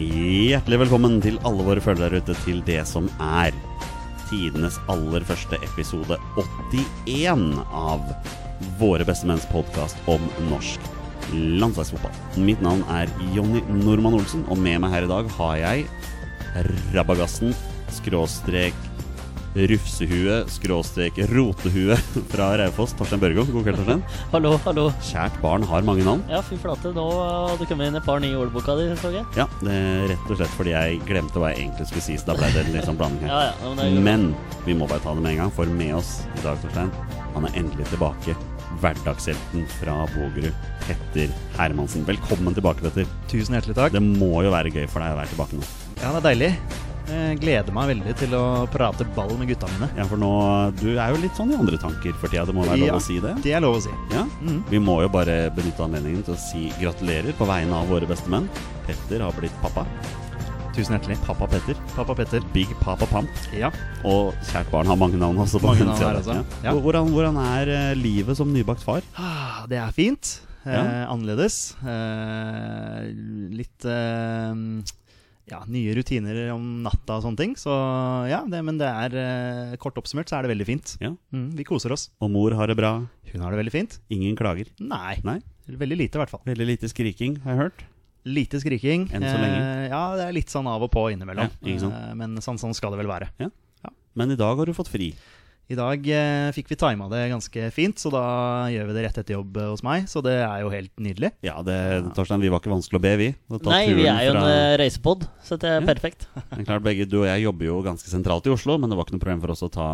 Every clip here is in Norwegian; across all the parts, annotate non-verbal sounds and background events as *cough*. Hjertelig velkommen til alle våre følgere der ute til det som er tidenes aller første episode 81 av Våre beste menns podkast om norsk landslagsfotball. Mitt navn er Jonny Normann Olsen, og med meg her i dag har jeg Rabagassen, skråstrek Rufsehue, skråstrek rotehue *laughs* fra Raufoss. Torstein Børgo, god kveld, Torstein. Hallo, hallo. Kjært barn har mange navn. Ja, fy flate. Nå har du kommet inn et par nye i ordboka di, så jeg. Ja, det er rett og slett fordi jeg glemte hva jeg egentlig skulle si, så da ble det litt sånn blanding Ja, her. ja. Men det er jo- Men vi må bare ta det med en gang, for med oss i dag, Torstein, han er endelig tilbake. Hverdagshelten fra Bogerud, Petter Hermansen. Velkommen tilbake, Petter. Tusen hjertelig takk. Det må jo være gøy for deg å være tilbake nå. Ja, det er deilig. Jeg gleder meg veldig til å prate ball med gutta mine. Ja, for nå Du er jo litt sånn i andre tanker for tida, det må være lov Ja. å si det? Det Mm. er lov å si. Ja. Vi må jo bare benytte anledningen til å si gratulerer på vegne av våre bestemenn. Petter har blitt pappa. Tusen hjertelig. Pappa Petter. Pappa Petter. Big Papa Pamp. Ja. Og kjært barn har mange navn også. på Mange den navn siden. her også, Ja. ja. Hvor- Hvordan, hvordan er eh, livet som nybakt far? Ah, Det er fint. Eh, Ja. Annerledes. Eh, litt eh, ja, nye rutiner om natta og sånne ting. Så ja, det, men det er eh, kort oppsummert så er det veldig fint. Ja. Mm, vi koser oss. Og mor har det bra. Hun har det veldig fint. Ingen klager. Nei. Nei. Veldig lite, i hvert fall. Veldig lite skriking, har jeg hørt. Lite skriking. Enn så lenge. Eh, ja, det er litt sånn av og på innimellom. Ja, ikke sant. Eh, men sånn, sånn skal det vel være. Men i dag har du fått fri. I dag eh, fikk vi tima det ganske fint, så da gjør vi det rett etter jobb eh, hos meg. Så det er jo helt nydelig. Ja, det, Torstein, vi var ikke vanskelig å be, vi. Å ta Nei, vi turen er jo en fra- eh, reisepod, så det er Ja. perfekt. Det er klart, begge Du og jeg jobber jo ganske sentralt i Oslo, men det var ikke noe problem for oss å ta,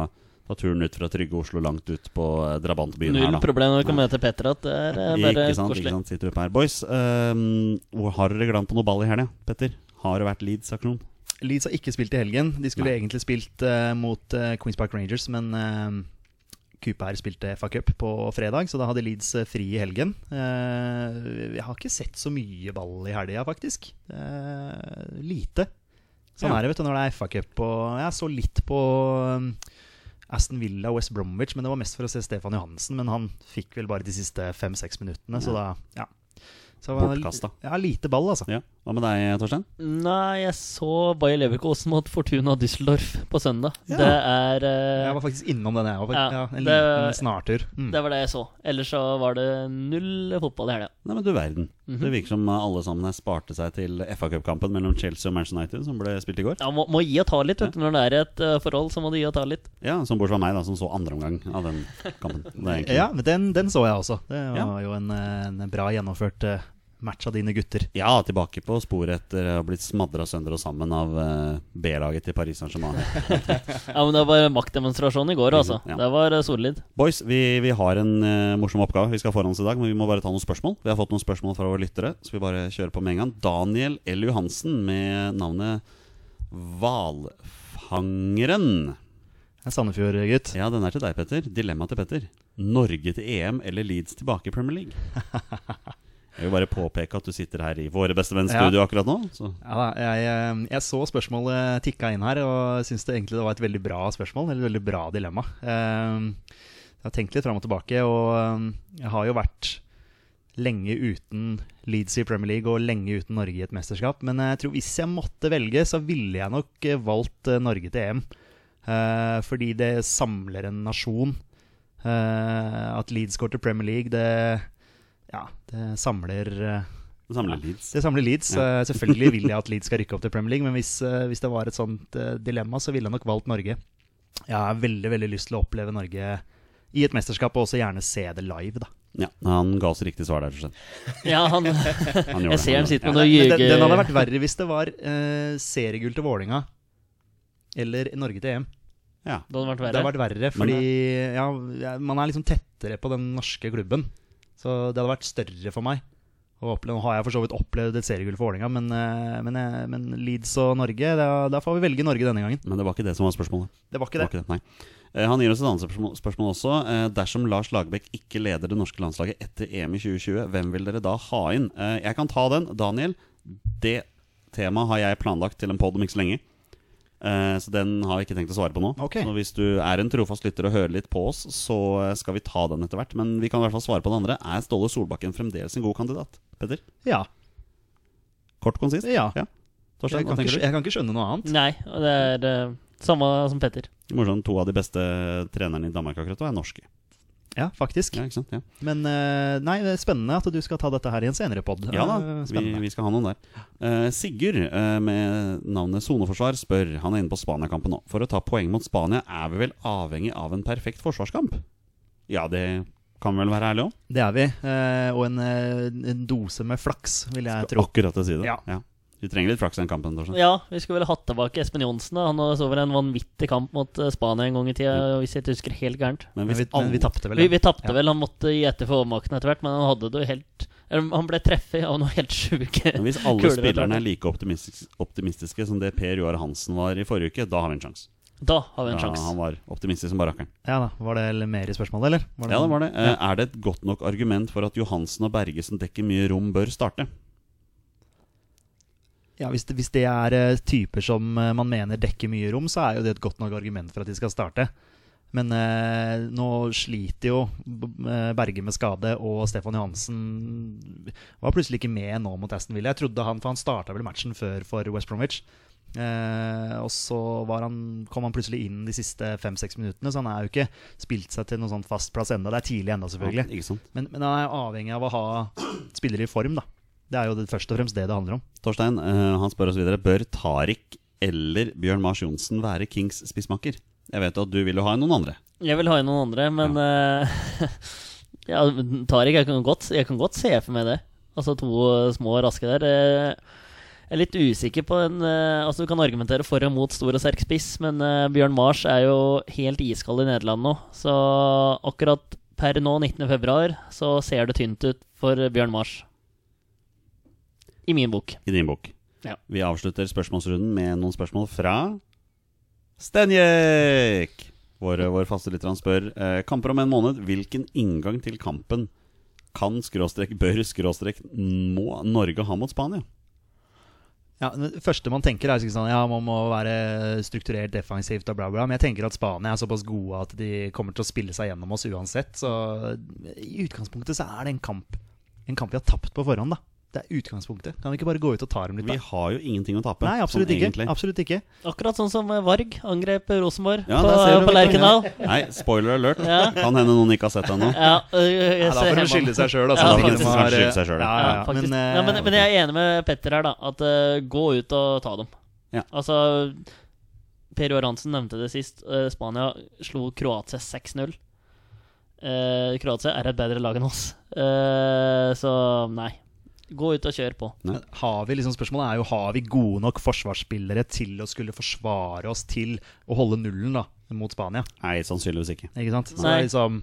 ta turen ut fra trygge Oslo langt ut på eh, drabantbyen her, Null da. problem når vi kommer til Petter at det er eh, bare Ikke sant, ikke koselig. sant, sitter vi på her. Boys, ehm, hvor har dere glemt på noe ball i helga, Petter? Har det vært Leeds-aksjon? Leeds har ikke spilt i helgen. De skulle egentlig spilt eh, mot eh, Queens Park Rangers, men uh, Cooper spilte FA Cup på fredag, så da hadde Leeds eh, fri i helgen. Eh, jeg har ikke sett så mye ball i helga, faktisk. Eh, lite. Sånn Ja. er det vet du, når det er FA Cup. Og jeg så litt på um, Aston Villa og West Bromwich, men det var mest for å se Stefan Johansen. Men han fikk vel bare de siste fem-seks minuttene, så da ja. Så det var- Bortkastet. Ja, lite ball, altså. Ja. Hva med deg, Torstein? Nei, jeg så Bayer Leverkosen mot Fortuna Düsseldorf på søndag. Ja. Det er eh, Jeg var faktisk innom den, jeg òg. Ja, Ja, en det- liten snartur. Mm. Det var det jeg så. Ellers så var det null fotball i helga. Nei, men du verden. Det virker som alle sammen her sparte seg til FA Cup-kampen mellom Chelsea og Manchester United, som ble spilt i går. Ja, må, må gi og ta litt, vet du. Når det er et eh, forhold, så må du gi og ta litt. Ja, Som bortsett fra meg, da, som så andre omgang av den kampen. Det er egentlig... *laughs* Ja, men den, den så jeg også. Det var Ja. jo en, eh, en bra gjennomført eh, match av dine gutter. Ja, tilbake på sporet etter å ha blitt smadra sønder og sammen av eh, B-laget til Paris Saint-Germain. Ja, men det var maktdemonstrasjon i går, altså. Ja. Det var *laughs* eh, solid. Boys, vi, vi har en eh, morsom oppgave vi skal ha foran oss i dag, men vi må bare ta noen spørsmål. Vi har fått noen spørsmål fra våre lyttere, så vi bare kjører på med en gang. Daniel L. Johansen med navnet Hvalfangeren. En Sandefjord-gutt. Ja, den er til deg, Petter. Dilemma til Petter. Norge til EM eller Leeds tilbake i Premier *laughs* League? Jeg vil bare påpeke at du sitter her i våre beste venns studio akkurat nå. Så. Ja, da, jeg, eh, jeg så spørsmålet tikka inn her, og syns det egentlig det var et veldig bra spørsmål. Eller et veldig bra dilemma. Eh, Jeg har tenkt litt fram og tilbake, og eh, jeg har jo vært lenge uten Leeds i Premier League og lenge uten Norge i et mesterskap. Men jeg tror hvis jeg måtte velge, så ville jeg nok eh, valgt eh, Norge til EM. Eh, Fordi det samler en nasjon. Eh, At Leeds går til Premier League, det, ja, det samler eh, Samle Leeds. det samler Leeds. Eh, Selvfølgelig vil jeg at Leeds skal rykke opp til Premier League, men hvis, eh, hvis det var et sånt eh, dilemma, så ville jeg nok valgt Norge. Jeg har veldig veldig lyst til å oppleve Norge i et mesterskap, og også gjerne se det live. da. Ja, han ga oss riktig svar der, rett og slett. Ja, han Han *laughs* gjorde Jeg det, ser han gjorde det. sitter med Men noe den, den hadde ljuge... vært verre hvis det var eh, seriegull til Vålinga eller Norge til EM. Ja. Det hadde vært Det verre. hadde vært verre, fordi ja, man er liksom tettere på den norske klubben. Så det hadde vært større for meg. å oppleve- Nå har jeg for så vidt opplevd et seriegull for Vålinga, men, eh, men, eh, men Leeds og Norge, da, da får vi velge Norge denne gangen. Men det var ikke det som var spørsmålet. Det var ikke Det det. var ikke det. Nei. Eh, Han gir oss et annet spørsmål, spørsmål også. Eh, Dersom Lars Lagerbäck ikke leder det norske landslaget etter EM i 2020, hvem vil dere da ha inn? Eh, Jeg kan ta den. Daniel, det temaet har jeg planlagt til en pod om ikke så lenge. Eh, Så den har jeg ikke tenkt å svare på nå. Ok. Så hvis du er en trofast lytter og hører litt på oss, så eh, skal vi ta den etter hvert. Men vi kan i hvert fall svare på det andre. Er Ståle Solbakken fremdeles en god kandidat? Petter? Ja. Kort konsist? ja. Ja. Torstein, Jeg hva kan, ikke, tenker skj- du? jeg kan ikke skjønne noe annet. Nei, og det er eh, samme som Petter. Morsomt, to av de beste trenerne i Danmark akkurat nå er norske. Ja, faktisk. Ja, ikke sant? Ja. Men eh, nei, det er spennende at du skal ta dette her i en senere pod. Ja da, vi, spennende. vi skal ha noen der. Eh, Sigurd eh, med navnet Soneforsvar spør Han er inne på Spania-kampen nå. For å ta poeng mot Spania er vi vel avhengig av en perfekt forsvarskamp? Ja, det kan vi vel være ærlig om? Det er vi. eh, og en, eh, en dose med flaks, vil jeg tro. Akkurat å si det. Ja. Du trenger litt flaks i den kampen, Mm. Torstein. Ja, vi skulle vel hatt tilbake Espen Johnsen. da. Han hadde så vel en vanvittig kamp mot eh, Spania en gang i tida, hvis jeg ikke husker helt gærent. Men Men hvis vi, men vi alle tapte Mm. vel. Vi, den. vi tapte Ja. vel, han måtte gi etter for overmakten etter hvert, men han hadde det jo helt eller, Han ble treffet av noe helt sjuke Mm. Men hvis alle Kulere spillerne klart. er like optimistiske, optimistiske som det Per Joar Hansen var i forrige uke, da har vi en sjanse. Da har vi en Ja, sjanse. han var optimistisk som bare rakkeren. Ja da, Var det l- mer i spørsmålet, eller? Var Ja, det var det. Eh, Er det et godt nok argument for at Johansen og Berge, som dekker mye rom, bør starte? Ja, hvis, det, hvis det er eh, typer som eh, man mener dekker mye rom, så er jo det et godt nok argument for at de skal starte. Men eh, nå sliter jo B- eh, Berge med skade, og Stefan Johansen var plutselig ikke med nå mot Aston Villa. Jeg trodde han, for han starta vel matchen før for West Bromwich. Eh, og så var han, kom han plutselig inn de siste fem-seks minuttene, så han er jo ikke spilt seg til noen sånn fast plass enda. Det er tidlig enda, selvfølgelig. Ja, ikke sant? Men, men han er avhengig av å ha spillere i form, da. Det er jo det, først og fremst det det handler om. Torstein, eh, han spør oss videre Bør Tariq eller Bjørn Mars Johnsen være Kings spissmaker? Jeg vet jo at du vil jo ha noen andre. Jeg vil ha inn noen andre, men eh, *laughs* ja. Tariq, jeg kan, godt, jeg kan godt se for meg det. Altså to eh, små raske der. eh, jeg er litt usikker på en eh, Altså Du kan argumentere for og mot stor og sterk spiss, men eh, Bjørn Mars er jo helt iskald i Nederland nå. Så akkurat per nå, 19.2, så ser det tynt ut for Bjørn Mars. I min bok. I din bok. Ja. Vi avslutter spørsmålsrunden med noen spørsmål fra Stenjek! Vår, vår faste lytter han spør eh, Kamper om en måned, hvilken inngang til kampen kan skråstrek, bør skråstrek, må Norge ha mot Spania? Ja, men Det første man tenker, er jo sikkert sånn Ja, man må være strukturert defensivt og bla, bla. Men jeg tenker at Spania er såpass gode at de kommer til å spille seg gjennom oss uansett. Så i utgangspunktet så er det en kamp En kamp vi har tapt på forhånd, da. Det er utgangspunktet. Kan vi ikke bare gå ut og ta dem litt, Vi da? har jo ingenting å tape. Nei, absolutt sånn ikke. egentlig. Absolutt ikke. Akkurat sånn som eh, Varg angrep Rosenborg Ja, på, eh, der ser du, på vet du. Lerkendal. Nei, spoiler alert. Ja. Kan hende noen ikke har sett det ennå. Ja, øh, jeg Ja, da ser får de Herman. skylde seg sjøl, altså. Ja, de faktisk. som har, Skylde seg selv, ja. ja, Ja, ja, ja. faktisk. Men, ja, men, eh, men jeg er enig med Petter her, da. At eh, gå ut og ta dem. Ja. Altså Per Joar Hansen nevnte det sist. eh, Spania slo Kroatia 6-0. Eh, Kroatia er et bedre lag enn oss. Eh, så nei. Gå ut og kjør på. Men Har vi liksom spørsmålet er jo har vi gode nok forsvarsspillere til å skulle forsvare oss til å holde nullen da mot Spania. Nei, sannsynligvis ikke. Ikke sant? Så det Nei. er liksom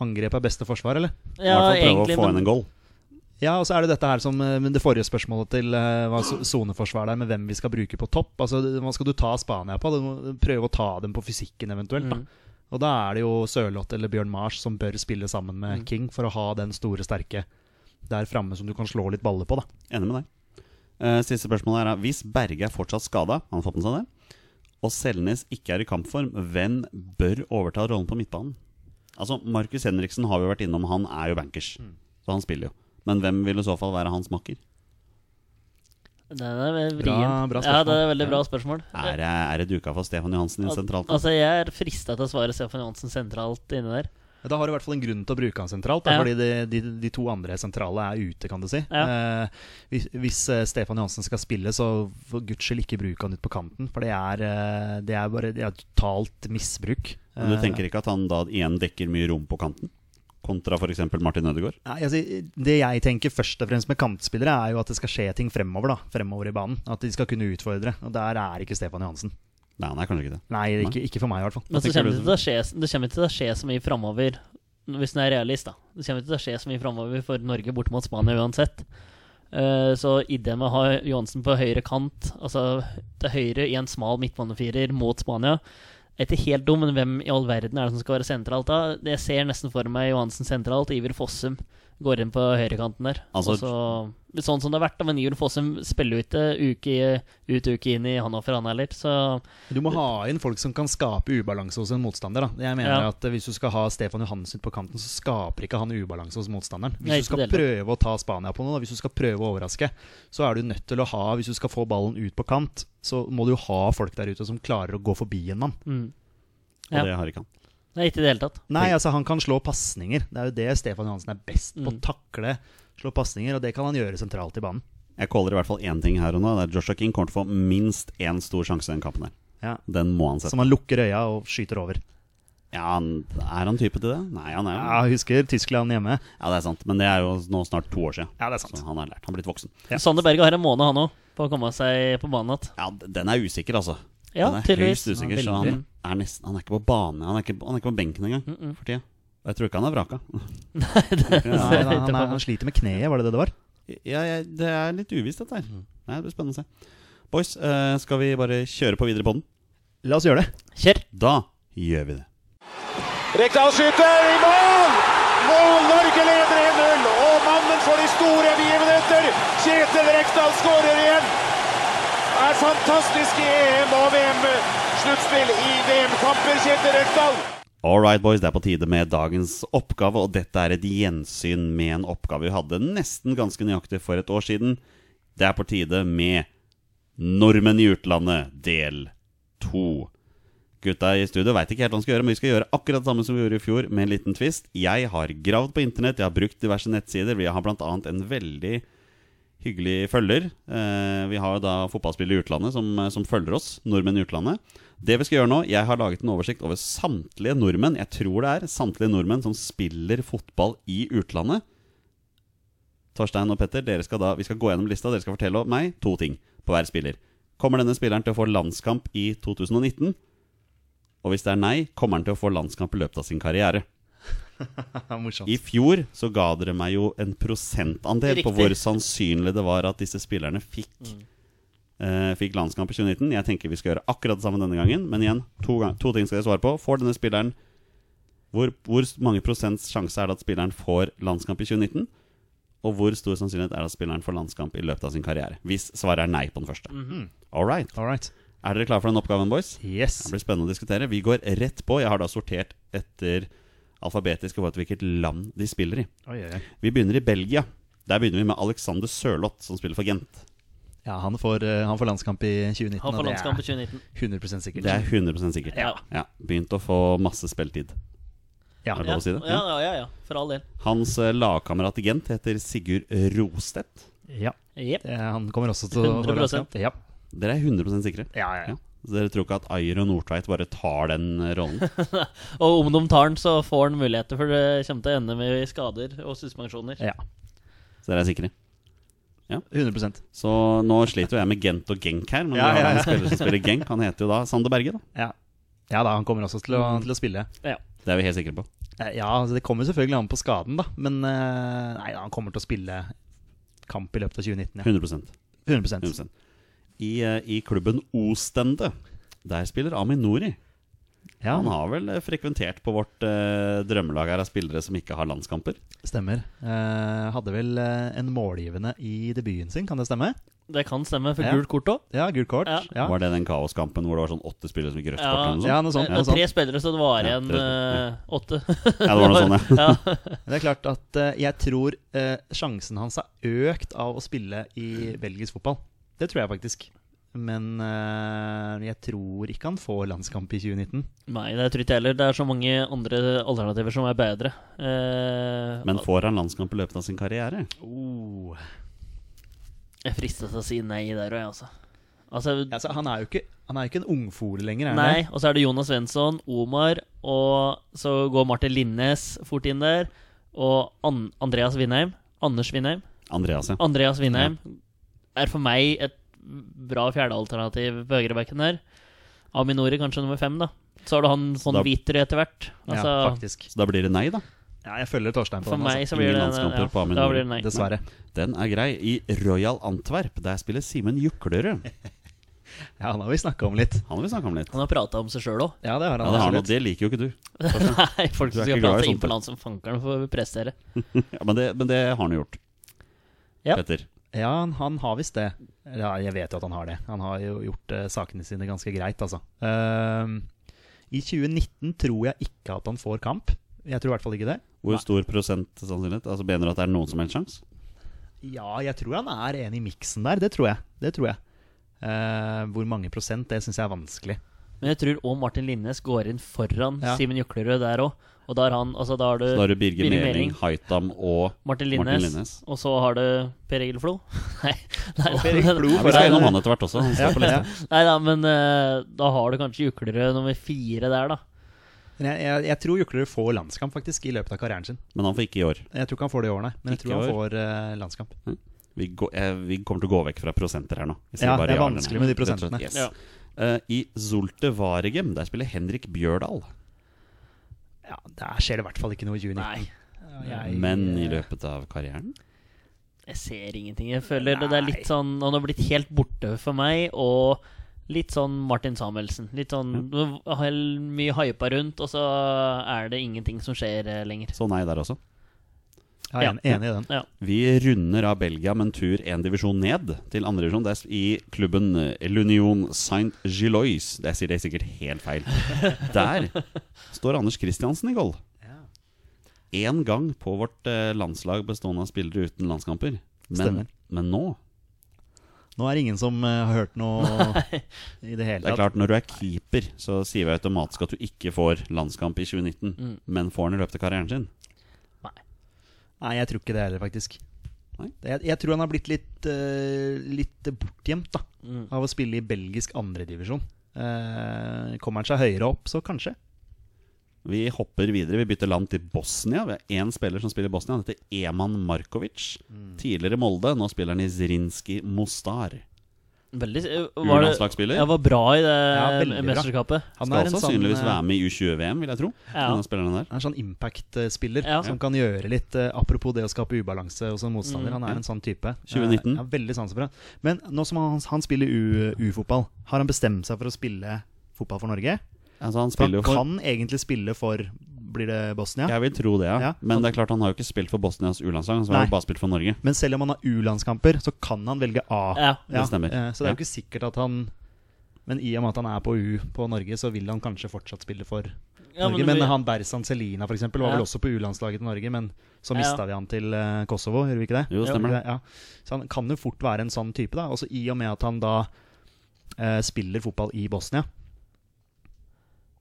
Angrep er beste forsvar, eller? I hvert Ja, fall prøve å egentlig, få men inn en goal. Ja, og så er det dette her som eh, men det forrige spørsmålet til eh, hva so- soneforsvar der, med hvem vi skal bruke på topp. Altså, det- Hva skal du ta Spania på? Du må prøve å ta dem på fysikken eventuelt. Da. Mm. Og da er det jo Sørloth eller Bjørn Mars som bør spille sammen med Mm. King for å ha den store, sterke der framme som du kan slå litt baller på. da. Enig med deg. Eh, siste spørsmål her er Hvis Berge er fortsatt skada, han har fått med seg det, og Selnes ikke er i kampform, hvem bør overta rollen på midtbanen? Altså, Markus Henriksen har vi jo vært innom, han er jo bankers, Mm. så han spiller jo. Men hvem vil i så fall være hans makker? Den er vrien. Bra- bra ja, det er spørsmål. veldig bra spørsmål. Er det, er det duka for Stefan Johansen i Al- sentralt? Altså, jeg er frista til å svare Stefan Johansen sentralt inne der. Da har du i hvert fall en grunn til å bruke han sentralt, da, Ja. fordi de, de, de to andre sentrale er ute, kan du si. Eh, hvis, hvis eh, Stefan Johansen skal spille, så for guds skyld ikke bruk han ut på kanten. For det er, eh, det er bare det er totalt misbruk. Men Eh, du tenker ikke at han da igjen dekker mye rom på kanten? Kontra f.eks. Martin Ødegaard? Nei, altså, det jeg tenker først og fremst med kantspillere, er jo at det skal skje ting fremover. da, fremover i banen. At de skal kunne utfordre. Og der er ikke Stefan Johansen. Nei, han er kanskje ikke det. Nei, ikke, ikke for meg i hvert fall. Men så tenker kommer du det til å skje, det kommer ikke til å skje så mye framover, hvis en er realist, da. Det kommer ikke til å skje så mye framover for Norge borte mot Spania uansett. Eh, så ideen med å ha Johansen på høyre kant, altså til høyre i en smal midtbanefirer mot Spania er ikke helt dum, men hvem i all verden er det som skal være sentralt da? Det jeg ser nesten for meg Johansen sentralt, Iver Fossum Går inn på høyrekanten der. Altså- Og så, litt sånn som det har vært, da, men Iver Fossum spiller jo ikke uke ut uke inn i Hannover, han heller. Så Du må ha inn folk som kan skape ubalanse hos en motstander. Da. Jeg mener Ja. at eh, Hvis du skal ha Stefan Johansen på kanten, så skaper ikke han ubalanse hos motstanderen. Hvis Nei, du skal ikke det prøve å ta Spania på noe, da, hvis du skal prøve å overraske, så er du nødt til å ha Hvis du skal få ballen ut på kant, så må du ha folk der ute som klarer å gå forbi en mann. mm. Og Ja. det har ikke han. Nei, ikke i det hele tatt. Nei, altså han kan slå pasninger. Det er jo det Stefan Johansen er best på. Mm. Takle, slå pasninger, og det kan han gjøre sentralt i banen. Jeg caller i hvert fall én ting her og nå. Det er Joshua King kommer til å få minst én stor sjanse i den kampen her. Ja. Den må han sette. Som han lukker øya og skyter over. Ja, han, er han type til det? Nei, han er jo Ja, husker Tyskland hjemme. Ja, det er sant. Men det er jo nå snart to år siden. Ja, det er Så *laughs* sant. han har lært. Han har blitt voksen. Ja. Sander Berge har en måned, han òg, på å komme seg på banen igjen. Ja, d- den er usikker, altså. Ja, den er tydeligvis. høyst usikker, så han er nesten Han er ikke på bane. Han er ikke, han er ikke på benken engang Mm, mm. for tida. Og jeg tror ikke han er vraka. *laughs* Ja, Ja, ser han, litt han, er- på- han sliter med kneet, var det det det var? ja, jeg, det er litt uvisst, dette her. Nei, Mm. det blir spennende å se. Boys, eh, skal vi bare kjøre på videre på den? La oss gjøre det. Kjør! Da gjør vi det. Rekdal skyter i mål! Mål! Norge leder 1-0. Og mannen for de store begivenheter, Kjetil Rekdal, skårer igjen. Det er fantastisk i EM- og VM-sluttspill i VM-kamper, Kjetil Rekdal. All right, boys. Det er på tide med dagens oppgave, og dette er et gjensyn med en oppgave vi hadde nesten ganske nøyaktig for et år siden. Det er på tide med Nordmenn i utlandet, del to. Gutta i studio veit ikke helt hva de skal gjøre, men vi skal gjøre akkurat det samme som vi gjorde i fjor, med en liten twist. Jeg har gravd på internett, jeg har brukt diverse nettsider. Vi har bl.a. en veldig hyggelig følger. Eh, vi har jo da fotballspillere i utlandet som, eh, som følger oss, nordmenn i utlandet. Det vi skal gjøre nå, jeg har laget en oversikt over samtlige nordmenn, jeg tror det er samtlige nordmenn som spiller fotball i utlandet. Torstein og Petter, dere skal da, vi skal gå gjennom lista. Dere skal fortelle meg to ting på hver spiller. Kommer denne spilleren til å få landskamp i 2019? Og hvis det er nei, kommer han til å få landskamp i løpet av sin karriere? Morsomt. I fjor så ga dere meg jo en prosentandel på Riktig. hvor sannsynlig det var at disse spillerne fikk, eh, fikk landskamp i 2019. Jeg tenker vi skal gjøre akkurat det samme denne gangen, men igjen, to, gang, to ting skal dere svare på. Får denne spilleren hvor, hvor mange prosents sjanse er det at spilleren får landskamp i 2019? Og hvor stor sannsynlighet er det at spilleren får landskamp i løpet av sin karriere? Hvis svaret er nei på den første. All right. All right. Er dere klare for den oppgaven, boys? Yes. Det blir spennende å diskutere. Vi går rett på. Jeg har da sortert etter alfabetisk i forhold til hvilket land de spiller i. Oi, oi, oi. Vi begynner i Belgia. Der begynner vi med Alexander Sørloth, som spiller for Gent. Ja, han får, eh, han får landskamp i 2019. Han og får det er landskamp i 2019. 100 sikkert. Det er 100 sikkert. Ja. Ja, Begynt å få masse spilletid. ja. Er det lov å si det? Ja, ja, ja, ja. For all del. Hans eh, lagkamerat i Gent heter Sigurd Rostedt. ja. Jepp. Eh, Han kommer også til å få 100%. landskamp. Ja. Dere er 100 sikre? Ja, ja, ja. Ja. Så dere tror ikke at Ayer og Nordtveit bare tar den eh, rollen? Og om de tar den, så får han muligheter, for det kommer til å ende med skader og suspensjoner. ja. Så dere er sikre? 100 Så nå sliter jo jeg med Gent og Genk her, men Ja, vi ja, har ja. en spiller som spiller Genk. Han heter jo da Sander Berge, da. ja. ja da, han kommer også til å, Mm. til å spille. Det er vi helt sikre på. Eh, Ja, altså, Det kommer selvfølgelig an på skaden, da. Men eh, nei, da, han kommer til å spille kamp i løpet av 2019. Ja. 100 100 100%. I, eh, I klubben Ostende, der spiller Aminori. Ja, Han har vel eh, frekventert på vårt eh, drømmelag her av spillere som ikke har landskamper. stemmer. Eh, hadde vel eh, en målgivende i debuten sin, kan det stemme? Det kan stemme, for Ja. gult kort òg. Ja, gult kort. Ja. Ja. Var det den kaoskampen hvor det var sånn åtte spillere som ikke rødt Ja. kort? eller noe sånt? Ja, noe sånt. Og Noe sånt. Eh, tre spillere, så det var Ja, igjen tre eh, åtte. Ja, det var noe sånt, ja. *laughs* ja. *laughs* Men Det er klart at eh, jeg tror eh, sjansen hans er økt av å spille i belgisk fotball. Det tror jeg faktisk. Men eh, jeg tror ikke han får landskamp i 2019. Nei, det tror ikke jeg heller. Det er så mange andre alternativer som er bedre. *laughs* Eh, Men får han landskamp i løpet av sin karriere? Oh. Jeg fristes til å si nei der òg, jeg, altså. altså Altså, han er jo ikke, han er jo ikke en ungfole lenger. Er han nei, det? og så er det Jonas Svensson, Omar, og så går Martin Linnes fort inn der. Og An Andreas Vindheim. Anders Vindheim. Andreas, ja. Andreas Vindheim er for meg et bra fjerdealternativ på høyrebacken der. Aminori kanskje nummer fem, da. Så har du han sånn Da- Vitry etter hvert. Altså, ja, faktisk. Så da blir det nei, da. Ja, jeg følger Torstein på for den. meg altså. så blir Ingen det landskamper ja, på Aminori. Da blir det nei. Dessverre. Den er grei. I Royal Antwerp, der spiller Simen Juklerud. Ja, han har vi snakka om litt. Han vil vi snakke om litt. Han har prata om seg sjøl òg. Ja, det har han. Ja, det, har noe, absolutt. det liker jo ikke du. *laughs* Nei, folk Du er som ikke glad i skal prate sånt, inn på land som fankeren for å prestere. Ja, men, det, men det har han jo gjort. Ja. Petter. Ja, han, han har visst det. Ja, jeg vet jo at han har det. Han har jo gjort eh, sakene sine ganske greit, altså. Ehm, I 2019 tror jeg ikke at han får kamp. Jeg tror i hvert fall ikke det. Hvor stor prosent sannsynlighet? Altså Mener du at det er noen som helst sjanse? Ja, jeg tror han er en i miksen der. Det tror jeg. Det tror jeg. Eh, hvor mange prosent, det syns jeg er vanskelig. Men jeg tror òg Martin Linnes går inn foran Ja. Simen Juklerød der òg. Og da har han Altså, da har du Da har du Birger Birger Meling, Meling. Haitam og Martin Linnes, Martin Linnes. og så har du Per Egil Flo. *laughs* Nei, nei, Og Per Egil Flo Ja, vi foran- skal gjennom han etter hvert også. Han Ja, står på lista. ja. Nei da, men eh, da har du kanskje Juklerød nummer fire der, da. Men jeg, jeg, jeg tror Juklerud får landskamp faktisk i løpet av karrieren sin. Men han får ikke i år. Jeg tror ikke han får det i år, nei. Men jeg Ikke tror i han år. får eh, landskamp. Vi, går, eh, vi kommer til å gå vekk fra prosenter her nå. Vi sier Ja, bare det er eller nei. vanskelig med de Rett og slett, prosentene. yes. Ja. Eh, I Zulte Varegem der spiller Henrik Bjørdal. Ja, Der skjer det i hvert fall ikke noe i 2019. Nei, Jeg- Men i løpet av karrieren jeg ser ingenting. Jeg føler det, det er litt sånn Han har blitt helt borte for meg, og litt sånn Martin Samuelsen. Litt sånn hel- mye hypa rundt, og så er det ingenting som skjer eh, lenger. *laughs* Så nei der også. Jeg er en- Ja. enig i den. Ja. Vi runder av Belgia med en tur én divisjon ned til andre divisjon. Det er i klubben eh, L'Union Saint-Gilois. Jeg sier det sikkert helt feil. Der står Anders Kristiansen i goal. Én gang på vårt eh, landslag bestående av spillere uten landskamper. Men, Stemmer. men nå Nå er det ingen som eh, har *laughs* hørt noe i det hele Det er tatt. klart, når du er keeper, så sier vi automatisk at du ikke får landskamp i 2019, men får den i løpet av karrieren sin. Nei, jeg tror ikke det heller, faktisk. Nei. Jeg, jeg tror han har blitt litt, eh, litt bortgjemt da, Mm. av å spille i belgisk andredivisjon. Uh, kommer han seg høyere opp, så kanskje. Vi hopper videre. Vi bytter land til Bosnia. Vi har én spiller som spiller i Bosnia. Han heter Eman Markovic. Mm. Tidligere Molde, nå spiller han i Zrinski Mostar. Veldig eh, var det- U-landslagsspiller. Ja, var bra i det Ja, veldig bra. mesterskapet. Han Skal en også sånn, sannsynligvis eh, være med i U20-VM, vil jeg tro. Ja. Denne spilleren der. Han er en sånn impact-spiller Ja. som kan gjøre litt eh, Apropos det å skape ubalanse hos en Mm. motstander. Han er en sånn type. 2019. Eh, ja, veldig sans for han. Men nå som han, han spiller U- U-fotball, har han bestemt seg for å spille fotball for Norge? Altså, han For spiller jo han for kan egentlig spille for Blir det Bosnia? Jeg vil tro det, ja. Ja. Men det er klart han har jo ikke spilt for Bosnias U-landslag. Han har Nei. jo bare spilt for Norge. Men selv om han har U-landskamper, så kan han velge A. Ja, det stemmer. eh, Så det er Ja. jo ikke sikkert at han Men i og med at han er på U på Norge, så vil han kanskje fortsatt spille for Ja, Norge. men Men, vi- han Berzan Celina for eksempel, var Ja. vel også på U-landslaget til Norge, men så Ja. mista vi han til eh, Kosovo, gjorde vi ikke det? Jo, Gjorde stemmer vi det. det? Ja. Så han kan jo fort være en sånn type, da. Også i og med at han da eh, spiller fotball i Bosnia.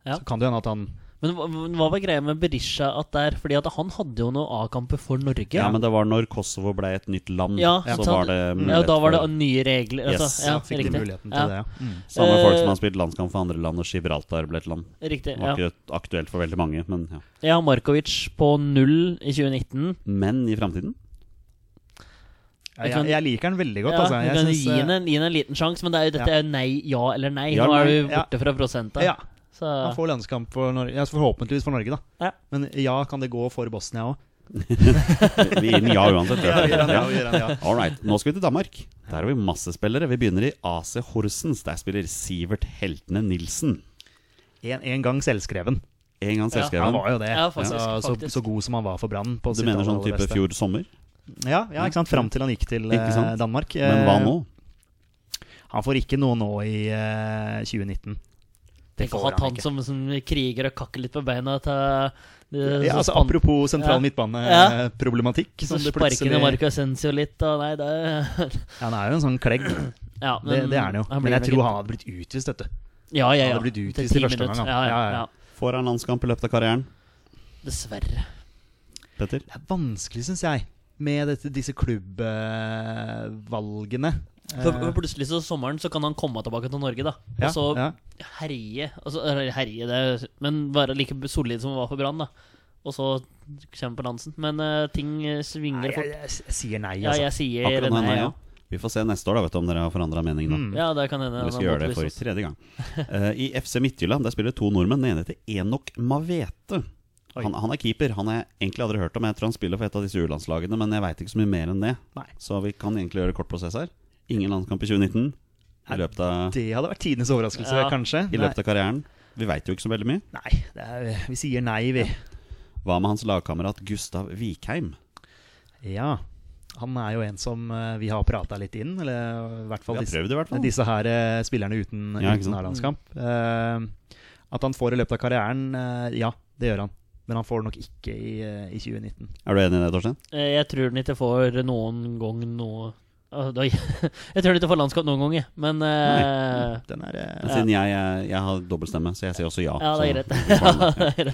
Ja. Så kan det jo hende at han Men hva, men hva var greia med Berisha at der? Fordi at han hadde jo noen A-kamper for Norge. Ja, men det var når Kosovo ble et nytt land, Ja, så sant. var det Ja, mulighet da var det for- nye regler. Altså, Yes, ja, fikk riktig. muligheten til det. Ja. Mm. Samme folk som Eh, har spilt landskamp for andre land, og Gibraltar ble et land. det. Riktig, Det var ja. ikke aktuelt for veldig mange, men ja. Jeg har Markovic på null i 2019. Men i framtiden Ja, kan- jeg, jeg liker han veldig Ja, godt, altså. du Jeg kan syns, gi eh, henne en, gi henne en liten sjanse, men det er jo, dette Ja. er jo nei, ja eller nei. Ja, Nå er du nei, ja. borte fra prosenta. ja. Så Han får landskamp for Norge, ja, så forhåpentligvis for Norge, da. Ja. Men ja, kan det gå for Bosnia òg? Vi gir den ja uansett. ja, Ja. vi gir han ja. All right. Nå skal vi til Danmark. Der har vi masse spillere. Vi begynner i AC Horsens. Der spiller Sivert Heltene Nilsen. En, en gang selvskreven. En gang Han selvskreven. var jo det. Ja, faktisk, Ja, så, faktisk. så god som han var for Brann. på Du sitt mener aller, sånn aller type beste. fjor sommer? Ja, ja, ikke sant. Fram til han gikk til eh, Ikke sant? Danmark. Men hva nå? Eh, Han får ikke noe nå i eh, 2019. tenk å får ha han han ikke. som, som kriger og kakker litt på beina sånn til det- Ja, så altså, span- apropos Ja. sentral Ja. midtbaneproblessproblematikk. så Sparker ned sånn Marco Essensio litt, og nei, det er Ja, han er jo en sånn klegg. ja, Det, det er han jo. blir Men jeg nok tror en- han hadde blitt utvist, vet du. ja, ja, ja. han hadde blitt utvist Til i ti første minutter. omgang, da. Ja, ja, Ja, ja. ja. Får han landskamp i løpet av karrieren? Dessverre. Petter? Det er vanskelig, syns jeg, med dette, disse eh, klubbvalgene. For for plutselig så sommeren så kan han komme tilbake til Norge, da. Og så herje altså, eller herje, det er, Men være like solid som han var for Brann, da. Og så kommer på dansen. Men eh, ting eh, svinger Nei, jeg, fort. jeg, jeg sier nei, Ja, altså. jeg sier Akkurat nå, nei. nei, Ja. ja. Vi får se neste år da, vet du, om dere har forandra Mm. mening. da. Mm. ja, det kan hende. Eller skal han gjøre det for motbevises. tredje gang. *laughs* Eh, I FC Midtjylland der spiller to nordmenn. Den ene heter Enok Mavete. Oi. Han, han er keeper. Han har jeg egentlig aldri hørt om. Jeg tror han spiller for et av disse U-landslagene, men jeg veit ikke så mye mer enn det. Nei. Så vi kan egentlig gjøre kort prosess her. Ingen landskamp i 2019. i løpet av, Det hadde vært tidenes overraskelse, Ja. kanskje. i løpet av karrieren? Vi veit jo ikke så veldig mye. Nei, nei det er, vi sier nei, vi. Hva med hans lagkamerat Gustav Vikheim? Ja. Han er jo en som eh, vi har prata litt inn, eller i hvert Vi fall har disse, prøvd, i hvert fall. disse her eh, spillerne uten, Ja, ikke uten sant? A-landskamp. Eh, at han får i løpet av karrieren, eh, ja, det gjør han. Men han får det nok ikke i, eh, i 2019. Er du enig i det, Torstein? Eh, Jeg tror den ikke får noen gang noe Ah, da- *laughs* Jeg tror den ikke får landskap noen gang, jeg. Men eh, Den er eh, Men Siden jeg, jeg, jeg har dobbeltstemme, så jeg sier også ja. Ja, det så- er greit. *laughs* *laughs* Ja. det er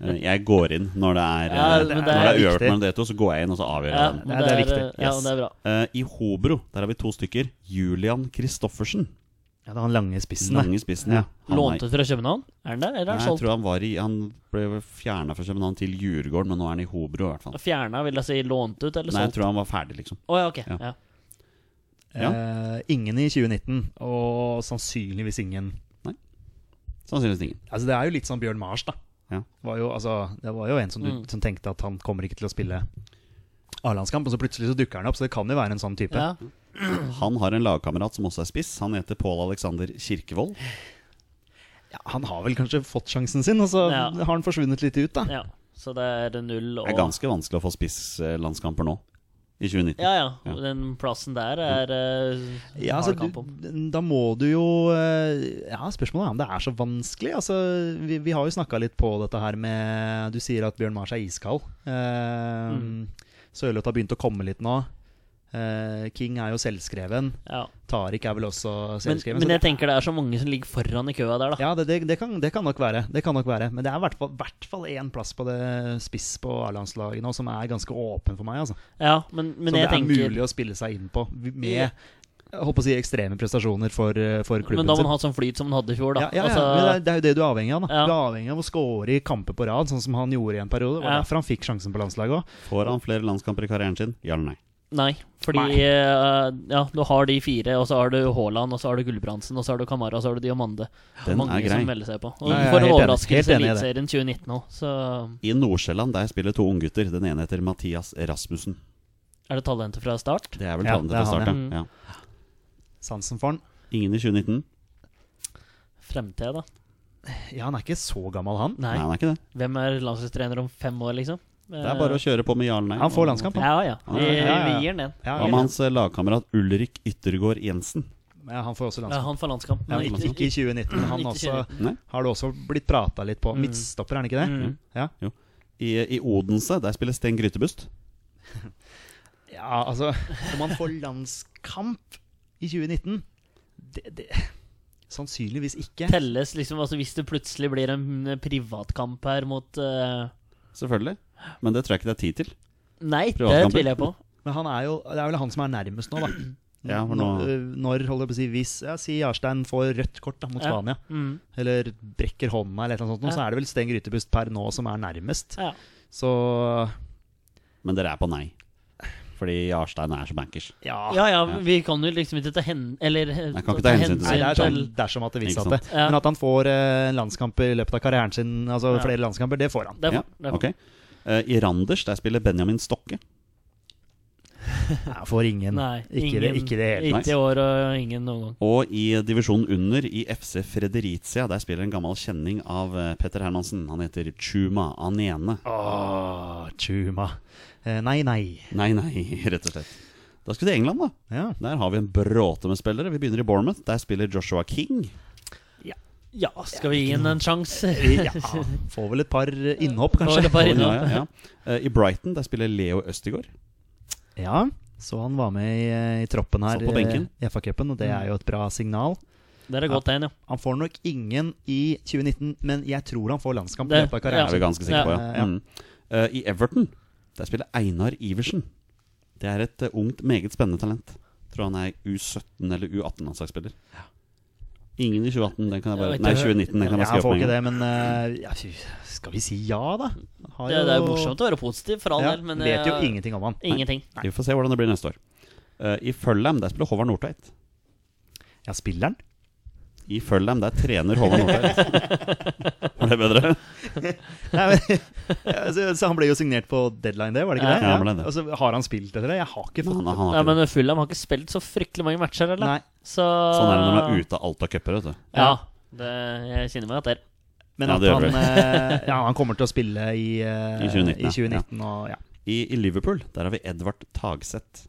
rett. Jeg går inn når det er, Ja, eh, men det når er det er uavgjort viktig. mellom dere to, så går jeg inn og så avgjør jeg Ja, den. men Ja, det er viktig. eh, Ja, Yes. det er bra. Eh, I Hobro der har vi to stykker. Julian Kristoffersen. Ja, det er han lange spissen. Mm. Lange spissen, ja. Han er- Lånt ut fra København? Er den der, eller er Nei, den jeg solgt? tror han var i Han ble fjerna fra København til Djurgården, men nå er han i Hobro, i hvert fall. Fjerna, vil jeg si lånt ut eller Nei, jeg solgt? tror han var ferdig, liksom. Å ja, ok. Ja. Ja. da. Eh, ingen i 2019, og sannsynligvis ingen Sannsynligvis ingen. Altså Det er jo litt sånn Bjørn Mars, da. Ja. Var jo, altså, det var jo en som, du, Mm. som tenkte at han kommer ikke til å spille A-landskamp, og så plutselig så dukker han opp. Så det kan jo være en sånn type. ja. Han har en lagkamerat som også er spiss. Han heter Pål Alexander Kirkevold. Ja, han har vel kanskje fått sjansen sin, og så Ja. har han forsvunnet litt ut, da. ja. Så det er null og Det er ganske vanskelig å få spisslandskamper nå, i 2019. Ja, ja. Ja. Den plassen der er eh, Ja, hard altså, kamp om. du, da må du jo eh, Ja, spørsmålet er om det er så vanskelig. Altså, vi, vi har jo snakka litt på dette her med Du sier at Bjørn Mars er iskald. Eh, Mm. Sørloth har begynt å komme litt nå. Eh, King er jo selvskreven. Ja. Tariq er vel også Men, selvskreven. men så jeg det tenker det er så mange som ligger foran i køa der, da. Ja, det, det, det, kan, det, kan nok være, det kan nok være. Men det er i hvert fall- hvert fall én plass på det spiss på A-landslaget nå som er ganske åpen for meg. Altså. Ja, men, men som det jeg er tenker mulig å spille seg inn på med Ja. jeg håper å si, ekstreme prestasjoner for, eh, for klubben Men da må man ha sånn flyt som man hadde i fjor, da. Ja, ja, ja, Altså, men det, er, det er jo det du er avhengig av. Da. Ja. Du er avhengig av å score i kamper på rad, sånn som han gjorde i en periode. Det Ja. var derfor han fikk sjansen på landslaget òg. Får han flere landskamper i karrieren sin? Ja eller nei? nei, fordi Nei. eh, ja, du har de fire, og så har du Haaland, og så har du Gulbrandsen, og så har du Kamara, og så har du Diamande. Den mange er grei. som melder seg på. Og Nei, jeg du er får en helt enig. overraskelse i Helt enig i det. Eliteserien 2019 òg, så I Nordsjælland der spiller to unggutter. Den ene heter Mathias Rasmussen. er det talentet fra start. Det er vel Ja, talentet det er fra han, start, ja. ja. Sansen for han. Ingen i 2019? Fremtida, da. Ja, han er ikke så gammel, han. Nei, Nei. han er ikke det. Hvem er landslagstrener om fem år, liksom? Eh, Det er bare å kjøre på med ja eller nei. Han får landskamp, han. Ja, ja. Vi, Ja, ja, ja. vi gir den en. Ja, Hva med hans eh, lagkamerat Ulrik Yttergård Jensen? ja, han får også Ja, landskamp. han får landskamp. Ja, men ikke, ikke i 2019. men Han Ikke også, 2019. Nei. har det også blitt prata litt på. Midtstopper, er han ikke det? Mm. Ja. I, I Odense der spiller Sten Grytebust. ja, altså Om han får landskamp i 2019 det, det, Sannsynligvis ikke. telles liksom altså Hvis det plutselig blir en privatkamp her mot eh, Selvfølgelig. Men det tror jeg ikke det er tid til. Nei, det Privatkamper? tviler jeg på. Men han er jo, det er vel han som er nærmest nå, da. *clears throat* Ja, for nå- når, når, holder jeg på å si, hvis ja, Si Jarstein får rødt kort da, mot Ja. Spania, Mm. eller brekker hånda, eller et eller annet sånt, nå, Ja. så er det vel Sten Grytebust per nå som er nærmest. Ja. Så Men dere er på nei. Fordi Jarstein er så bankers. ja. ja, ja, vi kan jo liksom ikke ta hen... Eller eh, Jeg kan ikke ta hensyn til Nei, det er sånn til- dersom at det Ikke viser at sant? det. Ja. Men at han får eh, en landskamp i løpet av karrieren sin, altså Ja. flere landskamper, det får han. Det er, Ja, det er, ok. Eh, I Randers der spiller Benjamin Stokke. Ja, får ingen. Nei, ikke, det, ikke det hele tatt. Ikke i år og ingen noen gang. Og i divisjonen under, i FC Fredericia, der spiller en gammel kjenning av eh, Petter Hermansen. Han heter Chuma Anene. Åh, Ah, Chuma. Eh, nei, nei. Nei, nei, *laughs* rett og slett. Da skal vi til England, da. *laughs* Ja. Der har vi en bråte med spillere. Vi begynner i Bournemouth. Der spiller Joshua King. Ja, skal vi gi den en sjanse? ja. Får vel et par eh, innhopp, kanskje. Får et par Ja, innhopp. ja, ja. Eh, I Brighton der spiller Leo Østigård. Ja, så han var med i, i troppen her Satt på benken. eh, i FA-cupen, og det Mm. er jo et bra signal. Det er et godt tegn, ja. Han får nok ingen i 2019, men jeg tror han får landskamp i Det- løpet av Det er karrieren. vi ganske sikre på, ja. Ja. Mm. Eh, I Everton der spiller Einar Iversen. Det er et eh, ungt, meget spennende talent. Tror han er U17- eller U18-landslagsspiller. Ingen i 2018, den kan jeg Jeg bare vet Nei, ikke. 2019, den kan Ja, jeg han skrive opp får med ikke en gang. det, men eh, ja, fy, skal vi si ja, da? Har Det, det er morsomt å være positiv, for all Ja, del, men vet jo eh, ingenting om han. ingenting. Vi får se hvordan det blir neste år. Eh, I Følheim der spiller Håvard Nordtveit. Ja, spilleren? I Følheim der trener Håvard *laughs* Nordtveit. Var det bedre? *laughs* Nei, *laughs* men, ja, så, så han ble jo signert på deadline, det, var det ikke Ja. det? Ja, han ble det. Altså, har han spilt etter det? Jeg har ikke Men fått han, han har Nei, ikke men Fulham har ikke spilt så fryktelig mange matcher, eller? Nei, Så Sånn er det når man er ute av alt av cuper, vet du. Ja. Det, jeg kjenner meg igjen der. Men Ja, at det gjør han, *laughs* eh, ja, han kommer til å spille i, eh, I 2019, i 2019 og, ja. I, I Liverpool der har vi Edvard Tagseth.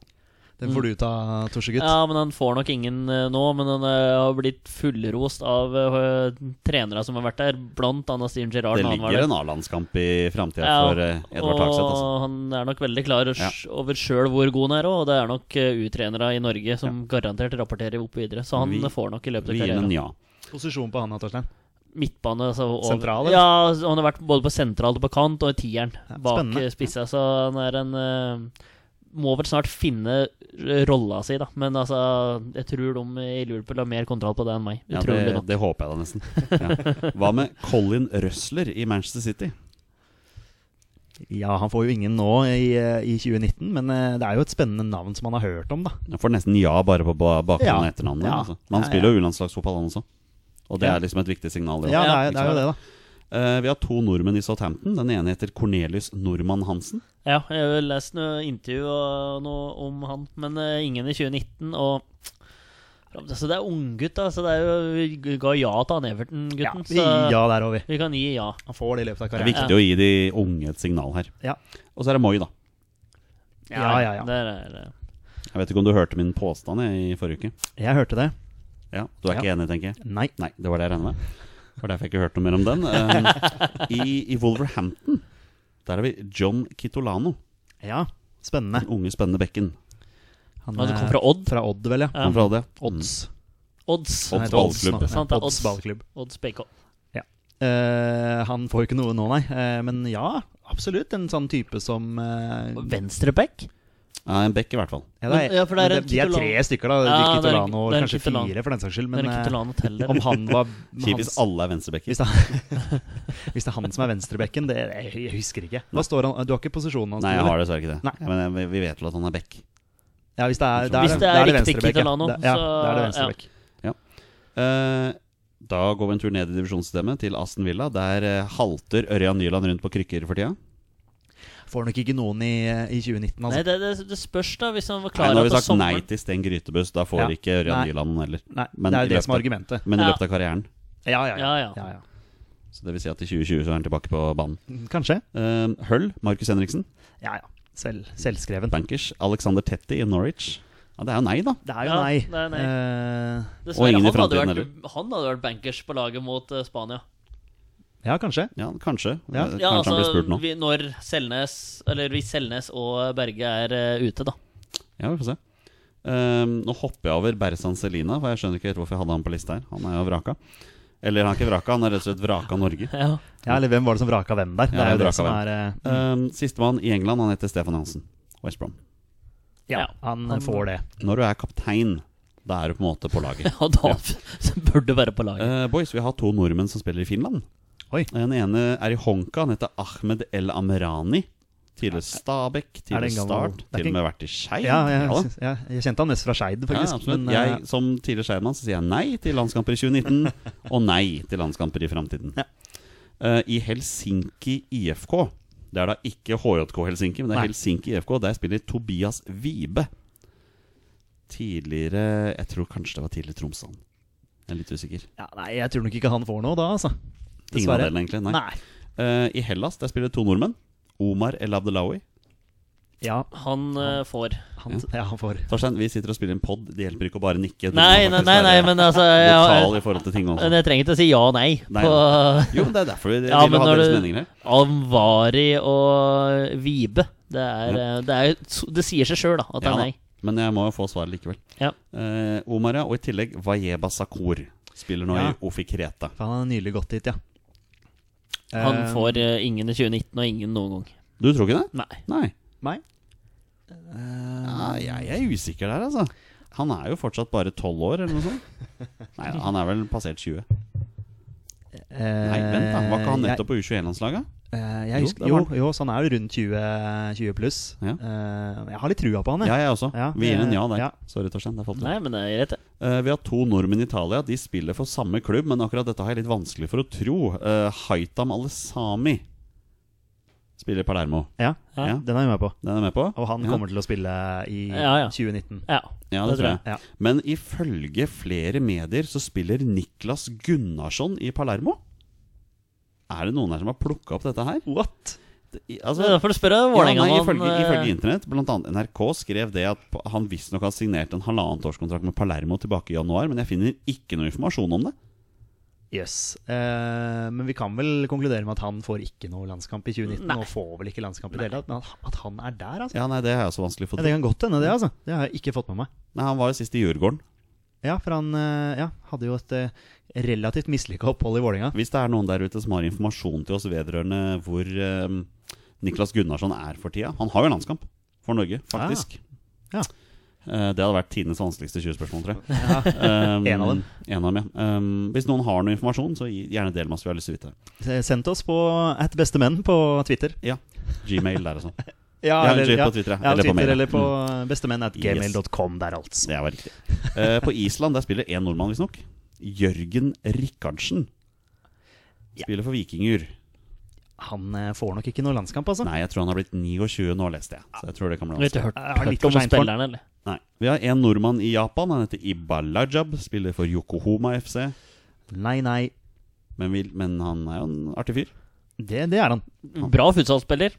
Den Mm. får du ta, Torsegutt. Ja, men han får nok ingen eh, nå. Men han eh, har blitt fullrost av eh, trenere som har vært der, blant annet Steven Gerrard. Det når han var ligger der. en A-landskamp i framtida Ja, for eh, Edvard og Tagseth. Altså. han er nok veldig klar s- over sjøl hvor god han er, og det er nok eh, utrenere i Norge som garantert rapporterer opp videre. Så han Vi- får nok i løpet av Vi gir den karrieren. en ja. Posisjon på han, da, Torstein. Midtbane. Altså, over- Sentral, eller? Ja, så han har vært både på sentral og på kant, og i tieren Ja, bak spennende. eh, spissa. Så han er en eh, Må vel snart finne rolla si, da. Men altså, jeg tror de i Liverpool har mer kontroll på det enn meg. Ja, Utrolig det, nok. det håper jeg da nesten. Ja. Hva med Colin Røsler i Manchester City? Ja, han får jo ingen nå i, eh, i 2019, men eh, det er jo et spennende navn som han har hørt om, da. Jeg får nesten ja bare på ba- bakgrunn av Ja. etternavnet. Ja. Altså. Men han Ja, ja. spiller jo U-landslagsfotball, han også. Og det Ja. er liksom et viktig signal. det Ja, det også. er, det er jo det, da. Eh, vi har to nordmenn i Southampton. Den ene heter Cornelius Normann Hansen. Ja, jeg har lest noe intervju og noe om han, men eh, ingen i 2019. og så det er unggutt, da. Så det er jo, vi ga ja til han Ja, Everton-gutten. vi gir ja der òg, vi. Så vi kan gi ja. Han får det i løpet av Det er karrieren. viktig å gi de unge et signal her. Ja. Og så er det Moi, da. Ja, ja, ja. Der er eh, Jeg det. vet ikke om du hørte min påstand jeg, i forrige uke? Jeg hørte det. Ja, Du er ikke enig, tenker jeg? Nei. Nei, det var det jeg regna med. Det var derfor jeg ikke hørte noe mer om den. Eh, i, I Wolverhampton der har vi John Kitolano. Ja, spennende. Den unge, spennende bekken. Han Men du er kom fra Odd? fra Odd, vel, ja. Ja. Han fra Mm. Odde. Odds. Odds. Odd. Han heter Odds Odds nå. ballklubb. Sant, det er Odds Odds. ballklubb. Odds BK. Eh, han får jo ikke noe nå, nei. Eh, men ja, absolutt en sånn type som eh, Venstreback? Ja, en bekk, i hvert fall. ja, det er, Men- ja, for det er men en det, de er Kitolano. tre stykker, Ja, da. Ja, det er en- Kitolano, det er en kanskje Kitolano. fire, for den saks skyld. Men Men eh, Kitolano teller. *laughs* om *laughs* han var Kjipt hvis hans, alle er venstrebekker. hvis, det, er- hvis det er han som er venstrebekken, det jeg, jeg husker ikke. Hva står han, du har ikke posisjonen hans? Nei, jeg har dessverre ikke det. Nei. Men jeg, vi- vi vet vel at han er bekk. Ja, hvis det er, da Hvis det er da riktig venstrebekk, ja. Kitolano, Da- ja, så- da er det ja. venstrebekk. Eh, da går vi en tur ned i divisjonssystemet, til Aston Villa. Der eh, halter Ørjan Nyland rundt på krykker for tida. Får nok ikke noen i, i 2019, Nei, altså. det, det, det spørs, da, hvis han var Nei, klar nå har vi til sagt sommeren. nei til Sten Grytebuss. Da får Ja. ikke Ørjan Nei. Nyland noen heller. Nei, Men det i er jo det som er løpet- argumentet. Men i Ja. løpet av karrieren. Ja, ja, ja. Ja, ja. ja, ja. Så det vil si at i 2020 så er han tilbake på banen. Kanskje. Eh, Høll, Markus Henriksen. Ja, ja. Selv, selvskreven. Bankers. Alexander Tetti i Norwich. Ja, det er jo nei, da. Det er jo Ja, nei. det er nei. Eh, Dessverre, ingen i han hadde framtiden vært- Han hadde vært bankers på laget mot eh, Spania. ja, kanskje. Ja, kanskje. Ja. Eh, Kanskje Ja, han blir altså, spurt nå. vi, når Selnes Eller hvis Selnes og Berge er eh, ute, da. *laughs* Ja, vi får se. Eh, nå hopper jeg over Berzan Selina, for jeg skjønner ikke helt hvorfor jeg hadde han på lista her. Han er jo vraka. Eller han er ikke vraka, han er rett og slett vraka Norge. Ja. Ja, eller hvem var det som vraka hvem der? Mm. Ja, det er jo vraka det som hvem. er eh, Um, Sistemann i England, han heter Stefan Johansen. West Brom. Ja, Ja, han, han- får det. Når du er kaptein, da er du på en måte på *laughs* laget. Og da så bør du være på laget. Eh, boys, vi har to nordmenn som spiller i Finland. Oi. Den ene er i Honka, han heter Ahmed El Amrani. Tidligere Stabæk, Er tidligere det en gammel- Start, det er til ikke- og med vært i Skeid. Ja, jeg, da. syns- ja, jeg kjente han mest fra Skeid, Ja, faktisk. absolutt. men, eh, jeg, som tidligere skeidemann så sier jeg nei til landskamper i *laughs* 2019, og nei til landskamper i framtiden. Ja. Eh, I Helsinki IFK Det er da ikke HJK Helsinki, men det er Nei. Helsinki IFK. Der spiller Tobias Vibe. Tidligere Jeg tror kanskje det var tidligere Tromsø. han. Jeg er litt usikker. ja, nei, jeg tror nok ikke han får noe da, altså. Ingen av delene, egentlig. Nei. Nei. Eh, I Hellas der spiller to nordmenn. Omar El Abdelawi. Ja, Han eh, får. han, ja, han får. Torstein, vi sitter og spiller en pod. Det hjelper ikke å bare nikke. Du må Nei, nei, faktisk nei, nei være men *laughs* altså brutal jeg, i forhold til ting også. men jeg trenger ikke å si ja og nei. Nei, På Jo, men det er derfor vi vi Ja, vil men ha når deres du- meninger her. *laughs* Alvari og Vibe. Det, er, eh, det, er, jo- det sier seg sjøl, da, at det Ja er da, nei. Men jeg må jo få svaret likevel. Ja. Eh, Omar, ja. Og i tillegg Vajeba Sakur. Spiller nå Ja. i Ofi Kreta. For han har nylig gått hit, ja. Han Eh, får eh, ingen i 2019 og ingen noen gang. Du tror ikke det? Nei. Nei. Nei. Ja, jeg er usikker der, altså. Han er jo fortsatt bare tolv år, eller noe sånt. Nei, han er vel passert 20. Nei, vent, da. Var ikke Eh, han nettopp på U21-landslaget? Jeg, eh, jeg Jo, husker, det jo, var jo, så han er jo rundt 20, 20 pluss. Ja. Eh, jeg har litt trua på han, Ja, jeg også. Ja, Vi gir en ja der. ja. Sorry, Torstein. Der falt du. nei, men det er greit, det. Eh, vi har to nordmenn i Italia. De spiller for samme klubb, men akkurat dette har jeg litt vanskelig for å tro. Eh, Haitam Alesami Spiller Palermo. Ja, Ja. Ja. den er vi med på. Den er du med på? Og han ja. kommer til å spille i Ja, ja. 2019. Ja, Ja, det tror jeg. Ja. Men ifølge flere medier så spiller Niklas Gunnarsson i Palermo. Er det noen her som har plukka opp dette her? What? Det- i- Så det Altså, er derfor du spør ja, Vålerenga nei, om han, ifølge, ifølge eh, internett, blant annet NRK, skrev det at p- han visstnok har signert en halvannetårskontrakt med Palermo tilbake i januar, men jeg finner ikke noe informasjon om det. Yes. Eh, men vi kan vel konkludere med at han får ikke noe landskamp i 2019. Nei. Og får vel ikke landskamp i det hele tatt. Men at- at han er der, altså. Ja, nei, det er jo så vanskelig å få Ja, til. det kan godt hende, det. altså Det har jeg ikke fått med meg. Nei, han var jo sist i Djurgården. Ja, for han eh, ja, hadde jo et eh, relativt mislykka opphold i Vålinga Hvis det er noen der ute som har informasjon til oss vedrørende hvor eh, Niklas Gunnarsson er for tida Han har jo landskamp for Norge, faktisk. Ah, Ja. Eh, det hadde vært tidenes vanskeligste 20-spørsmål, tror jeg. Ja. *laughs* Um, En av dem. En av dem, ja. Um, hvis noen har noe informasjon, så gi- gjerne del med oss. Vi har lyst til å vite. det. S- Eh, Sendt oss på at bestemenn på Twitter. Gmail der, altså. Ja, eller- ja. på Twitter, ja. Eller eller, på på, Mm. mail. eller på bestemenn at Yes. gmail.com der, altså. Det var riktig. Eh, på Island der spiller én nordmann, visstnok. Jørgen Rikardsen. Ja. Spiller for Vikingur. Han eh, får nok ikke noe landskamp, altså. Nei, jeg tror han har blitt 29 nå, leste jeg. Så jeg tror det kan bli Har du ikke vanskelig. hørt, Jeg har litt hørt for om sent for den. spilleren, eller? Nei. Vi har en nordmann i Japan. Han heter Ibalajab. Spiller for Yokohoma FC. Nei, nei. Men, vi, men han er jo en artig fyr. Det, det er han. Bra futsalspiller.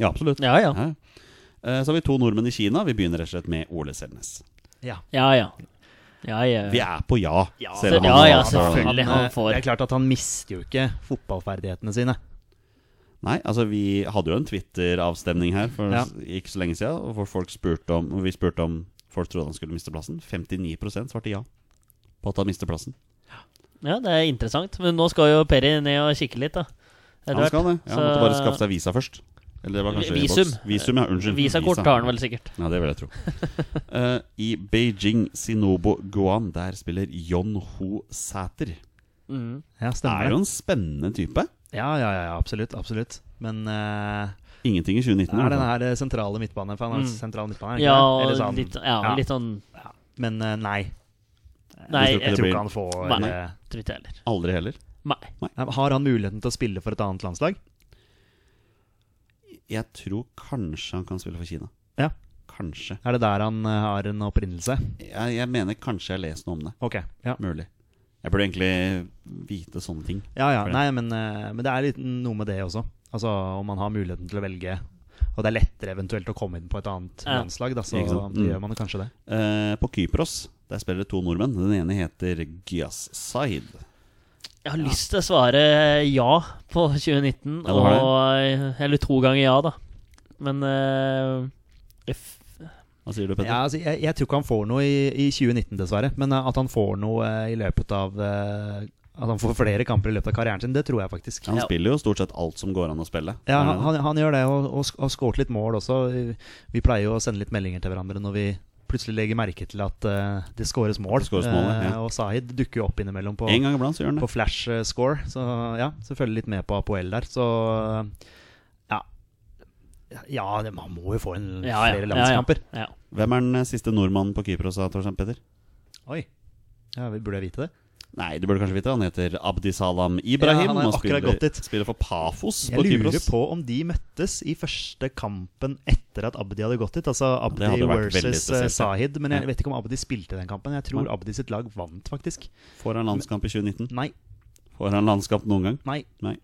Ja, absolutt. Ja, ja. Ja. Eh, Så har vi to nordmenn i Kina. Vi begynner rett og slett med Ole Selnes. Ja. Ja, ja. Ja, ja. Vi er på ja, Ja, selv om ja, han har- ja, har- selvfølgelig. eh, han får- Det er klart at han mister jo ikke fotballferdighetene sine. Nei, altså vi hadde jo en Twitter-avstemning her for Ja. ikke så lenge siden. Hvor folk spurte om, hvor vi spurte om folk trodde han skulle miste plassen. 59 svarte ja på at han mister plassen. Ja, det er interessant. Men nå skal jo Perry ned og kikke litt, da. Etter Han hvert. skal det. Ja, han Så- måtte bare skaffe seg visa først. Eller det var kanskje Visum. boks. Visum, ja, unnskyld. Visakort Visa. har han vel sikkert. Ja, det vil *laughs* jeg tro. Eh, I Beijing Sinobo Guan, der spiller John Ho Sæter. Mm. Ja, Det stemmer er det. jo en spennende type. Ja, ja, ja, ja, absolutt. Absolutt. Men eh, Ingenting i 2019. i det er hvert den fall. her eh, sentrale midtbanen. For han har Mm. sentral midtbane, er det Ja, ikke det? og Eller sånn- litt, ja, ja. litt sånn Men eh, nei. Nei, tror ikke det jeg Jeg tror blir- ikke han får Nei. eh, tror ikke jeg heller. Aldri heller. Nei. Nei, Har han muligheten til å spille for et annet landslag? Jeg tror kanskje han kan spille for Kina. Ja. Kanskje. Er det der han eh, har en opprinnelse? Jeg, jeg mener kanskje jeg har lest noe om det. Ok, ja. Mulig. Jeg burde egentlig vite sånne ting. Ja, ja. For det. Nei, men, eh, men det er litt noe med det også. Altså om man har muligheten til å velge. Og det er lettere eventuelt å komme inn på et annet Ja. landslag, da, så Ikke sant? da Mm. gjør man jo kanskje det. Eh, på Kypros der spiller det to nordmenn. Den ene heter Gyas Said. Jeg har lyst til å svare ja på 2019, Ja, det har og eh, eller to ganger ja, da. Men eh, jeg f- Hva sier du, Petter? Ja, altså, jeg, jeg tror ikke han får noe i, i 2019, dessverre. Men eh, at han får noe eh, i løpet av eh, At han får flere kamper i løpet av karrieren sin, det tror jeg faktisk. Han Ja. spiller jo stort sett alt som går an å spille. Ja, Er det han, han- han gjør det, og, og, sk- og skåret litt mål også. Vi- Vi pleier jo å sende litt meldinger til hverandre når vi plutselig legger merke til at eh, det skåres mål. Det skåres mål, ja. Eh, og Sahid dukker jo opp innimellom på, det? en gang iblant så gjør han på det. flash eh, score. Så ja, så følger litt med på Apoel der. Så ja. Ja, det, man må jo få en ja, ja, ja, flere ja, landskamper. ja. Hvem er den eh, siste nordmannen på Kypros, da, Torstein Petter? Oi. Ja, vi- Burde jeg vite det? Nei, du burde kanskje vite det. Han heter Abdisalam Ibrahim. Ja, han har og akkurat spiller, gått dit. spiller for Pafos Jeg på lurer Kypros. på om de møttes i første kampen etter at Abdi hadde gått dit. Altså Abdi det hadde vært veldig versus eh, spesielt, ja. Sahid. Men Ja. jeg vet ikke om Abdi spilte den kampen. Jeg tror Nei. Abdi sitt lag vant, faktisk. Får han landskamp i 2019? Nei, Får han landskamp noen gang? nei. Nei.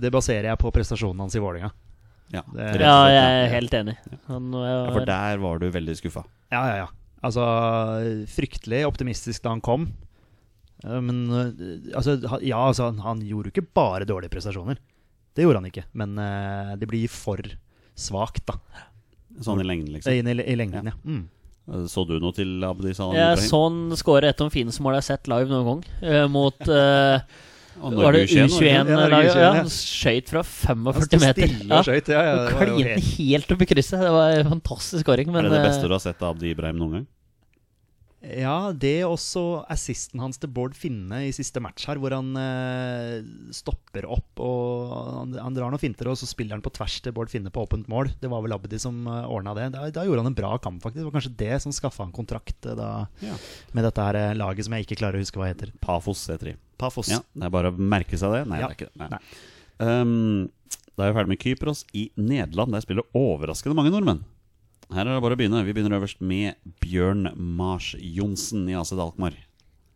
Det baserer jeg på prestasjonen hans i Vålerenga. Ja, Det- rett og slett, ja, jeg er helt enig. Han, eh, ja, For der var du veldig skuffa. Ja, ja, ja. Altså, fryktelig optimistisk da han kom. Eh, Men eh, altså, ha- ja, altså, han, han gjorde jo ikke bare dårlige prestasjoner. Det gjorde han ikke. Men eh, det blir for svakt, da. Sånn i lengden, liksom. Inn i, i lengden, ja. Mm. Så du noe til Abdisalam Jeg Ibrahim? så han skåre et av de fineste målene jeg har sett live noen gang. eh, mot eh, Og Var det Norge Norge? Ja, Norge U21-laget? U21, Ja, ja. han skøyt fra Han 45 sto meter. stille Ja, og skøyt. Ja, ja, og det var jo klinte helt- helt opp i krysset. Det var en fantastisk skåring. Men er det det eh, beste du har sett av Abdi Ibrahim noen gang? Ja, det er også assisten hans til Bård Finne i siste match her, hvor han eh, stopper opp og han, han drar noen finter, og så spiller han på tvers til Bård Finne på åpent mål. Det var vel Abdi som eh, ordna det. Da, da gjorde han en bra kamp, faktisk. Det var kanskje det som skaffa han kontrakt eh, da, Ja. med dette her eh, laget som jeg ikke klarer å huske hva heter. Pafos heter de. Pafos. Ja, det er bare å merke seg det. Nei, Ja. det er ikke det. Nei. Um, Da er vi ferdig med Kypros i Nederland. Der spiller overraskende mange nordmenn. Her er det bare å begynne. Vi begynner øverst med Bjørn Mars Johnsen i AC Dalkmar.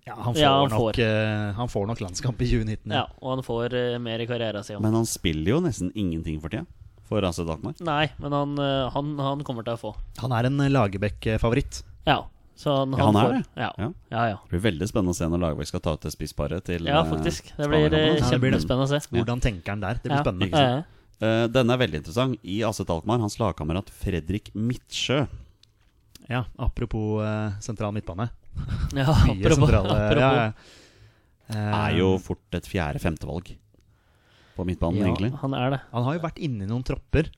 Ja, han, får Ja, han nok, får. eh, han får nok landskamp i 2019. Ja, og han får eh, mer i karrieren sin. Men han spiller jo nesten ingenting for tida for AC Dalkmar. Nei, men han, eh, han, han kommer til å få. Han er en eh, Lagerbäck-favoritt. Ja. Så han, Ja, han er får. det. Ja. Ja. Ja. ja, ja. Det blir veldig spennende å se når Lagerbäck skal ta ut det spissparet til eh, faktisk. Det blir eh, Spania-kampen. Ja, det blir det. kjempespennende å se. Hvordan tenker han der? Det blir Ja. spennende. Ikke sant? Eh, Denne er veldig interessant. I AC Dalkmar, hans lagkamerat Fredrik Midtsjø Ja, Apropos eh, sentral midtbane. Ja, *laughs* Mye apropos, sentrale apropos. ja, ja. Eh, er jo fort et fjerde-femtevalg på midtbanen, Ja. egentlig. Han er det. Han har jo vært inni noen tropper,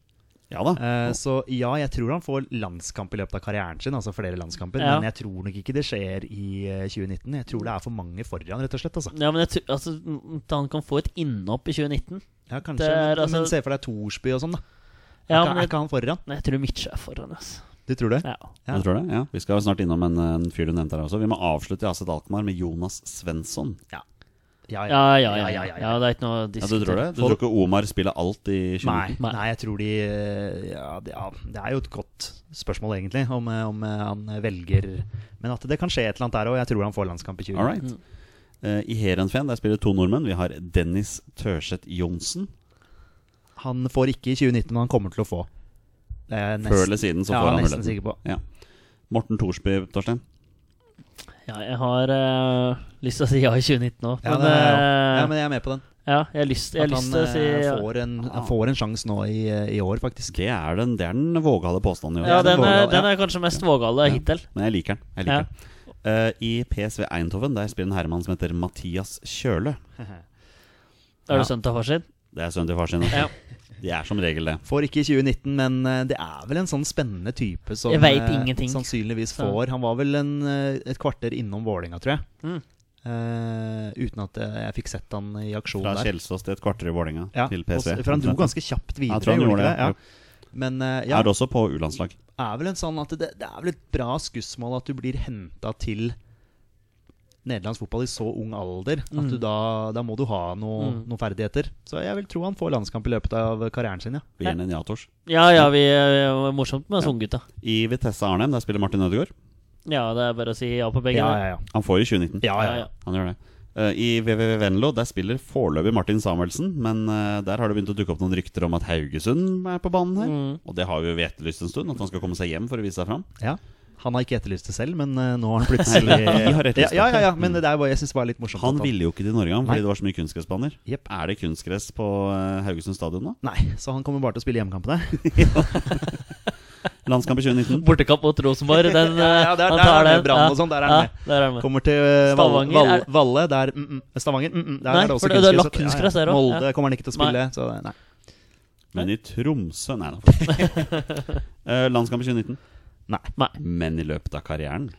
Ja da. eh, så ja, jeg tror han får landskamp i løpet av karrieren sin. Altså flere landskamper, Ja. men jeg tror nok ikke det skjer i eh, 2019. Jeg tror det er for mange foran, rett og slett. Altså. Ja, men jeg tror altså, m- han kan få et innhopp i 2019. Ja, kanskje, Det er men- altså- Men se for deg Thorsby og sånn, da. Ja, er, ikke- men er jeg, ikke han foran? nei, jeg tror Mitch er foran, ass. Du tror det? Ja. Ja. Jeg tror det, ja. Vi skal jo snart innom en, en fyr du nevnte her også. Vi må avslutte i AC Dalkmar med Jonas Svensson. Ja, Ja, ja, ja. ja, ja. det er ikke noe å Ja, du tror det? diskutere. Du tror ikke Omar spiller alt i 2019? Nei, Nei. nei, jeg tror de eh, ja det, ja, det er jo et godt spørsmål, egentlig, om, eh, om eh, han velger Men at det kan skje et eller annet der òg. Jeg tror han får landskamp i 20. All right. Eh, I Heerenveen der spiller to nordmenn. Vi har Dennis Tørseth Johnsen. Han får ikke i 2019, men han kommer til å få. Det er jeg Før eller siden så ja, får han nesten muligheten. sikker på. Ja. Morten Thorsby, Torstein. Ja, jeg har eh, lyst til å si ja i 2019 òg, Ja, men, det er, jeg også. eh, ja, men jeg er med på den. ja, jeg har lyst, jeg At har han lyst til å si eh, ja. får, en, han får en sjanse nå i, eh, i år, *laughs* faktisk. Det er den, det er den vågale påstanden i år. Ja, den er, vågal, den ja. er kanskje mest vågale hittil. Men jeg liker den. Jeg liker Ja. den. Eh, I PSV Eindhoven der spiller en herremann som heter Mathias Kjøle. Er Ja. det sønnen til far sin? Det er sønnen til far sin. Ja. De er som regel det. Får ikke i 2019, men eh, det er vel en sånn spennende type som Jeg vet eh, ingenting. sannsynligvis Ja. får Han var vel en, eh, et kvarter innom Vålerenga, tror jeg. Mm. Eh, uten at eh, jeg fikk sett han i aksjon Fra der. Kjelsås til et kvarter i Vålerenga Ja, til PSV. og s- For han dro ganske kjapt videre. Jeg tror han gjorde gjorde det. ikke Ja. Men eh, ja, Er også på U-landslag. er vel en sånn at det, det er vel et bra skussmål at du blir henta til nederlandsk fotball i så ung alder. At du da, da må du ha noe, Mm. noen ferdigheter. Så jeg vil tro han får landskamp i løpet av karrieren sin, ja. Vi gir den en ja-tors. Ja, Mm. ja, vi eh, det var morsomt med oss unggutta. I Vitesse Arnhem der spiller Martin Ødegaard. Ja, det er bare å si ja på begge. Ja, det. ja, ja. Han får i 2019. ja, ja, ja. Han gjør det. Eh, I VVV Venlo der spiller foreløpig Martin Samuelsen, men eh, der har det begynt å dukke opp noen rykter om at Haugesund er på banen Mm. her. Og det har jo vi etterlyst en stund, at han skal komme seg hjem for å vise seg fram. Ja. Han har ikke etterlyst det selv, men eh, nå har han *laughs* plutselig vi har *laughs* ja, etterlyst *laughs* ja, ja, ja, men det der var, jeg synes det var litt morsomt. Mm. Han at ville jo ikke til Norge, han, Nei. fordi det var så mye kunstgressbaner. Jepp. Er det kunstgress på eh, Haugesund stadion nå? Nei, så han kommer bare til å spille hjemmekampene. Landskamp i 2019. Bortekamp mot *laughs* Rosenborg, den Ja, ja, eh, der- han der tar er det den. Brann og sånn, der er han med. der er han med. Kommer til eh, Val- Stavanger, Val- er det- Valle, der mm, mm. Stavanger, mm, mm. der Nei, er det også for det- det er kunstgress. lagt kunstgress der også, Molde ja. kommer han ikke til å spille, så nei. Men i Tromsø Nei da. *laughs* Eh, landskamp i 2019. Nei. Men i løpet av karrieren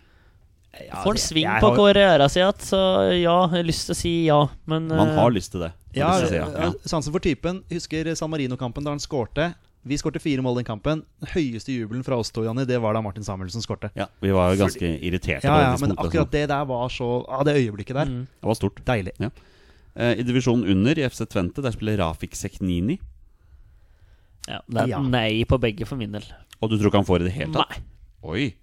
Ja, Får en det- sving jeg på har- karrieren sin igjen, så ja, jeg har lyst til å si ja, men Man eh, har lyst til det. sånn. har Ja, lyst til å si ja. Sansen for typen. Husker San Marino-kampen da han skårte. Vi skårte fire mål den kampen. Den høyeste jubelen fra oss to, Janni, det var da Martin Samuelsen skårte. ja. ja, vi var jo ganske irriterte. Ja, på ja, disse men motene. akkurat det der var så ah, Det øyeblikket der. sånn. Mm. Det var stort. Deilig. Ja. Eh, I divisjonen under, i FC Tvente, der spiller Rafik Seknini. ja, det er Ja. nei på begge for min del. Og du tror ikke han får i det hele tatt? Nei. Oi!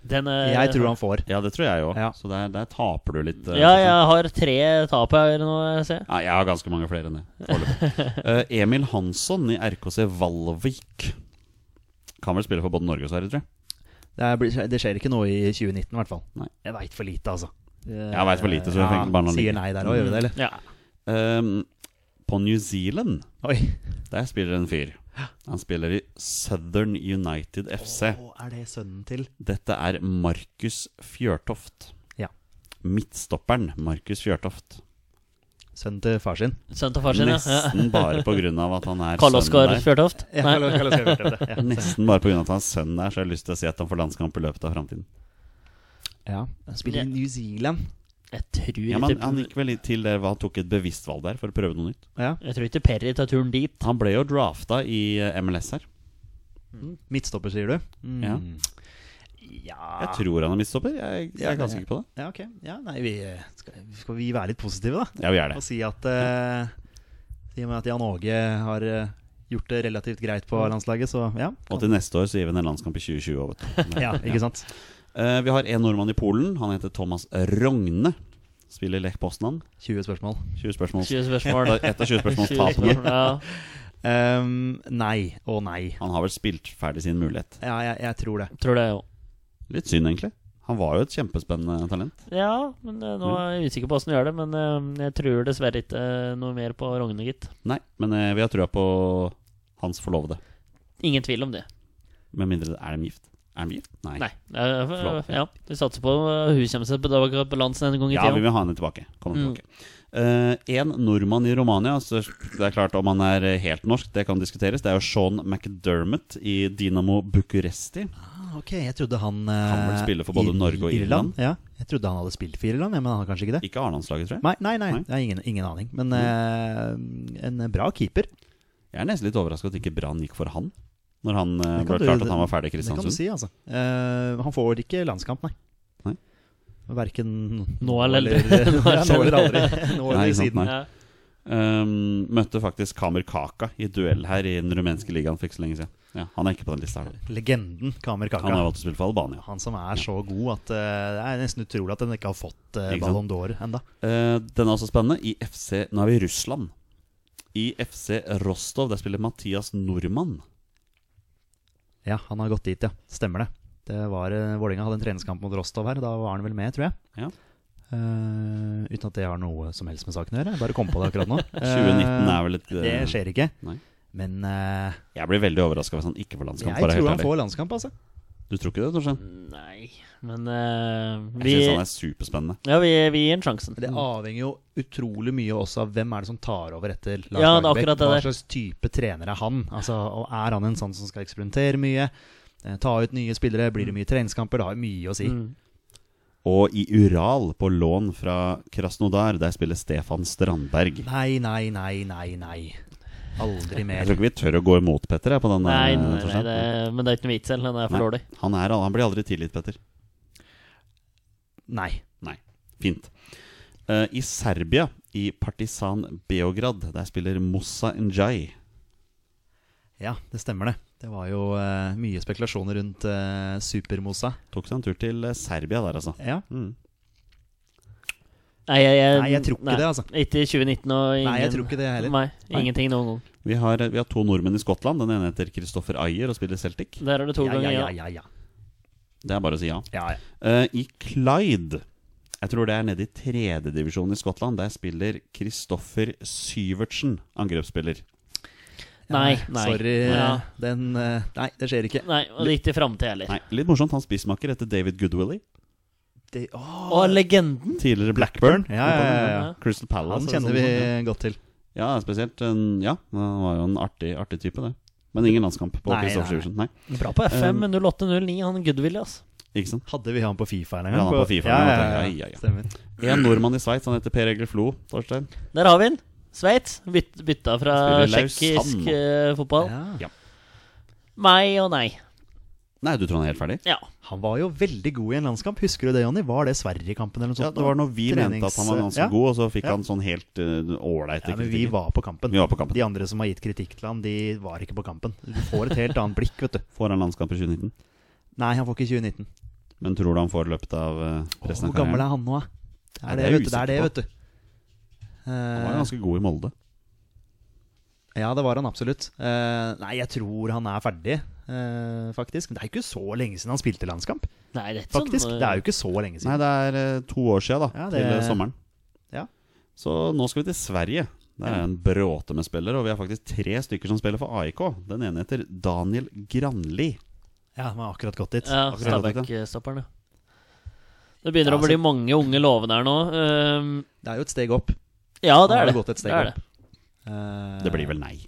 Den, eh, Jeg tror han får. Ja, det tror jeg òg. Ja. Så der, der taper du litt. eh, Ja, Torstein. jeg har tre tap her nå, ser jeg. Ja, jeg har ganske mange flere enn det. *laughs* foreløpig. Eh, Emil Hansson i RKC Valvik. Kan vel spille for både Norge og Sverige, tror jeg. Det, er, blir- det skjer ikke noe i 2019, i hvert fall. Nei. Jeg veit for lite, altså. Jeg vet for lite, så jeg Ja, tenker bare noe Sier like. nei der òg, gjør vi det, eller? Ja. Ehm, på New Zealand, Oi. der spiller en fyr. Han spiller i Southern United FC. Å, er det sønnen til Dette er Markus Fjørtoft. Ja. Midtstopperen Markus Fjørtoft. Sønnen til far sin? Sønnen til far sin, ja. Nesten bare på grunn av at han er Karl sønnen Oskar der. Fjørtoft? Ja, Nei. eller- eller skal jeg *laughs* gjøre det? Nesten bare på grunn av at han er sønnen der, så jeg har lyst til å si at han får landskamp i løpet av framtiden. Ja. Han spiller i New Zealand. Jeg tror, Ja, men ikke, han gikk vel til det, han tok et bevisst valg der for å prøve noe nytt. Ja. jeg tror ikke Perry tar turen dit. Han ble jo drafta i eh, MLS her. Midtstopper, sier du? Mm. Ja. ja. Jeg tror han er midtstopper. Jeg, jeg Ah. Ja, er ganske det- sikker på det. Ja, eh, ok. Ja, nei, vi, skal, skal vi være litt positive, da? Ja, vi er det. Og si at eh, I og med at Jan Åge har eh, gjort det relativt greit Mm. på landslaget, så ja. Og til neste år så gir vi en landskamp i 2020 òg, vet du. *laughs* ja ikke sant? Eh, vi har en nordmann i Polen. Han heter Thomas Rogne. Spiller Lech Poznan. 20 spørsmål. 20 spørsmål. 20 *laughs* spørsmål. Et av 20 spørsmål 20 tapene. spørsmål, Ja. Ehm, nei og nei. Han har vel spilt ferdig sin mulighet. Ja, jeg, jeg tror det. Tror det, jo. Litt synd, egentlig. Han var jo et kjempespennende talent. Ja, men eh, Mm. nå er jeg usikker på åssen du gjør det. Men eh, jeg tror dessverre ikke eh, noe mer på Rogne, gitt. Nei, men eh, vi har trua på hans forlovede. Ingen tvil om det. Med mindre det er dem gift. Er de gift? Nei. Nei. eh, Flott. ja, vi satser på eh, hun kommer seg på dag- på landsen en gang i Ja, vi tida. vil ha henne tilbake. Kom Mm. tilbake. Eh, en nordmann i Romania, så det er klart om han er eh, helt norsk, det kan diskuteres. Det er jo Sean McDermott i Dinamo Bucuresti. Ah, ok, jeg trodde han eh, Han vil spille for både Ir- Norge og Irland. Ja, Jeg trodde han hadde spilt for Irland, ja, men han har kanskje ikke det. Ikke A-landslaget, tror jeg. Nei, nei, nei, Nei. jeg har ingen, ingen aning. Men eh, en bra keeper. Jeg er nesten litt overraska at ikke Brann gikk for han. Når han eh, Det kan ble du- klart at han var ferdig i Det kan du Kristiansund. si, altså. Eh, han får ikke landskamp, nei. Nei. Verken Nå eller- *laughs* Nå eller aldri. Nå Nei, eller ikke sant, siden. nei. Ja. Um, møtte faktisk Kamer Kaka i duell her i den rumenske ligaen for ikke så lenge siden. Ja, han er ikke på den lista her. Legenden Kamer Kaka. Han har Han, valgt å spille for Albania. som er så god at eh, det er nesten utrolig at han ikke har fått eh, Ikke sant? Ballon d'Or ennå. Eh, den er også spennende. I FC Nå er vi i Russland. I FC Rostov der spiller Mathias Nordmann. Ja, han har gått dit, ja. Stemmer det. det var, eh, Vålinga hadde en treningskamp mot Rostov her. Da var han vel med, tror jeg. Ja. Eh, uten at det har noe som helst med saken å gjøre. Jeg bare kom på det akkurat nå. *laughs* 2019 er vel et Eh, Det eh, skjer ikke. Nei. Men eh, Jeg blir veldig overraska hvis han ikke får landskamp. jeg for å være tror helt han ærlig. får landskamp, altså. Du tror ikke det, Torstein? Nei, men eh, vi, Jeg syns han er superspennende. ja, vi, vi gir ham sjansen. Mm. Men det avhenger jo utrolig mye også av hvem er det som tar over etter Lars Ja, det er Lagerbäck. akkurat det Hva der. slags type trener er han? Altså, og er han en sånn som skal eksperimentere mye? eh, Ta ut nye spillere? Blir det mye treningskamper? Det har jo mye å si. Mm. Og i Ural, på lån fra Krasnodar, der spiller Stefan Strandberg. Nei, nei, nei, nei, nei. *laughs* Aldri Jeg mer. tror ikke vi tør å gå imot Petter jeg, på den. Nei, eh, nei, nei Torstein. det, men det er ikke noe vits i, han er for Nei. dårlig. Han, er, han blir aldri tilgitt, Petter. Nei. Fint. Eh, I Serbia, i Partisan Beograd, der spiller Mossa Njay. Ja, det stemmer det. Det var jo eh, mye spekulasjoner rundt eh, Supermosa. Tok seg en tur til eh, Serbia der, altså. Ja. Mm. Nei, jeg, jeg, Nei, jeg tror ikke det, altså. Ikke i 2019 og ingen Nei, jeg tror ikke det heller. Nei, ingenting noen gang. Vi, har, eh, vi har to nordmenn i Skottland. Den ene heter Kristoffer Ayer og spiller Celtic. Der er det to Ja, ganger, ja, ja. ja, ja, ja. Det er bare å si ja. ja, ja. Eh, I Clyde, jeg tror det er nede i tredjedivisjonen i Skottland, der spiller Kristoffer Syvertsen angrepsspiller. Nei, nei. Sorry. Ja. Den eh, Nei, det skjer ikke. Nei, og det er ikke i framtida heller. Nei, litt morsomt. Hans spissmaker heter David Goodwillie. Det, åh, Og legenden! Tidligere Blackburn. Mm. Ja, ja, ja, ja. Crystal Palace. Han eller kjenner sånn vi sånt, ja. godt til. Ja, spesielt en, Ja, han var jo en artig, artig type, det. Men ingen landskamp på Nei, Kristoffer nei, nei. Syversen. Nei, Bra på Ehm. FM, 0809, han Goodwill, altså. ikke sant? Hadde vi han på Fifa en Ja, gang? han er på FIFA, ja, ja, ja, ja, ja, ja, ja. Stemmer. En nordmann i Sveits, han heter Per Egil Flo, Torstein. Der har vi den. Sveits. Byt, bytta fra Spiller Lausanne. tsjekkisk eh, fotball. Ja. Nei og nei. Nei, du tror han er helt ferdig? Ja. Han var jo veldig god i en landskamp. Husker du det, Jonny? Var det Sverige-kampen eller noe Ja, sånt? det var når vi mente at han var ganske ja. god, og så fikk Ja. han sånn helt eh, ålreit Ja, men vi kritikk. var på kampen. Vi var på kampen. De andre som har gitt kritikk til han, de var ikke på kampen. Du får et helt annet blikk, vet du. Får han landskamp i 2019? Nei, han får ikke 2019. Men tror du han får i løpet av eh, resten Hvor av gammel karrieren? er han nå, da? Det Nei, er det er det, jeg vet du. Det er det, usikker vet du. Han var Eh, ganske god i Molde. Ja, det var han absolutt. Eh, nei, jeg tror han er ferdig, eh, faktisk. Men det er jo ikke så lenge siden han spilte landskamp, Nei, det er ikke faktisk. sånn eh, Det er jo ikke så lenge Nei, siden. det er eh, to år sia, da. Ja, Til det- eh, sommeren. Ja. Så nå skal vi til Sverige. Det er en bråte med spillere, og vi har faktisk tre stykker som spiller for AIK. Den ene heter Daniel Granli. Ja, han har akkurat gått dit. Ja, Akkurat dette. Stabæk-stopperen, ja. Det begynner Ja, å bli mange unge lovende her nå. Ehm, Det er jo et steg opp. ja, det Han har er det. gått et det, steg er det. Eh, Det blir vel nei.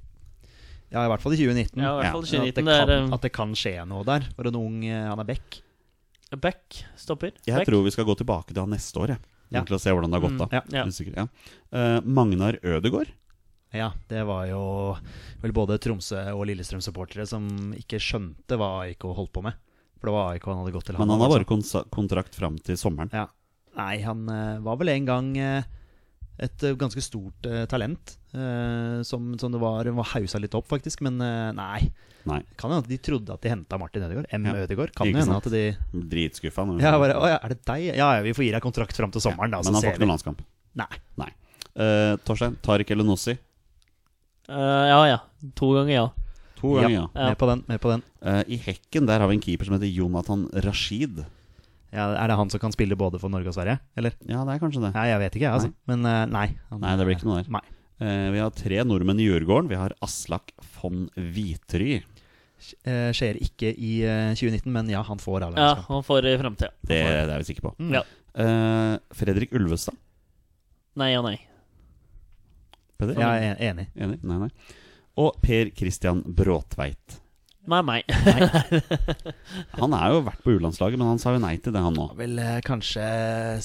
Ja, i hvert fall i 2019. Ja, i Ja, hvert fall Men 2019. at, det kan, Det er at det kan skje noe der. For en ung eh, Han er back. eh, back stopper. Jeg Back. tror vi skal gå tilbake til han neste år, jeg. Ja. Til å se hvordan det har gått, Mm, da. ja. Usikker, ja. Eh, Magnar Ødegård. Ja, det var jo vel både Tromsø og Lillestrøm-supportere som ikke skjønte hva AIK holdt på med. For det var AIK han hadde liksom- gått til. Men han har altså. bare konsa- kontrakt fram til sommeren. Ja. Nei, han eh, var vel en gang eh, et eh, ganske stort eh, talent. eh, som, som det var, var hausa litt opp, faktisk. Men eh, nei. Nei. Kan hende at de trodde at de henta Martin Ødegaard. M. Ja. Ødegaard. Kan Ikke jo hende sant? at de Dritskuffa. nå. ja, bare, Å ja, er det deg? Ja, ja, vi får gi deg kontrakt fram til sommeren, da. Men Så han får ser ikke vi. noen landskamp. Nei. Nei. Eh, Torstein, Tariq Elenossi. Eh, ja, ja. To ganger ja. To ganger, ja. Ja. Med på den. Med på den. Eh, I hekken der har vi en keeper som heter Jonathan Rashid. Ja, er det han som kan spille både for Norge og Sverige? Eller? Ja, det er kanskje det. Nei, jeg vet ikke, jeg, altså. Men eh, nei. Han- Nei, det blir ikke noe der. Nei. Eh, vi har tre nordmenn i Djurgården. Vi har Aslak von Vitry. Eh, skjer ikke i eh, 2019, men ja, han får ja A-landskap. han får i framtida. Det, det er vi sikre på. Mm. Ja. Eh, Fredrik Ulvestad. Nei og nei. Peder? Jeg er en- enig. Enig? Nei, nei. Og Per Christian Bråtveit. Nei, meg. Han har jo vært på U-landslaget, men han sa jo nei til det, han nå. Har vel eh, kanskje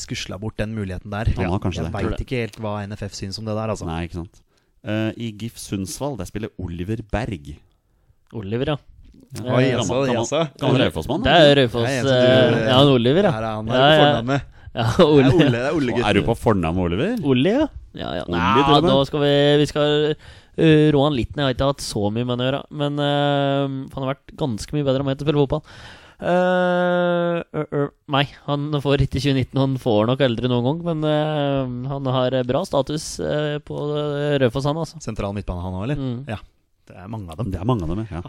skusla bort den muligheten der. Han har kanskje jeg det. veit ikke helt hva NFF syns om det der, altså. Nei, ikke sant. Eh, I GIF Sundsvall, der spiller Oliver Berg. *laughs* Oliver, ja. Ja. Oi, Eh, Gammel- altså, gammel- altså. Gammel Raufoss-mann. Det er Raufoss. Nei, jeg tror du- eh, Ja, han Oliver, Her ja. er han Ja, her på ja. fornavnet. ja Det er Olle. Ole, det er Og Er du Ole-gutten. på fornavn med Oliver? Olli, ja. ja, ja. Olli, Nei, til og med. nå skal vi, vi skal eh, rå han litt ned. Jeg har ikke hatt så mye med han å gjøre. Men eh, han har vært ganske mye bedre enn meg til å spille fotball. Eh, ø, ø, nei, han får ikke 2019, og han får nok aldri noen gang. Men eh, han har bra status eh, på Raufoss, han, altså. Sentral midtbane, han òg, eller? Mm. Ja. Det er mange av dem. Det er mange av dem, ja.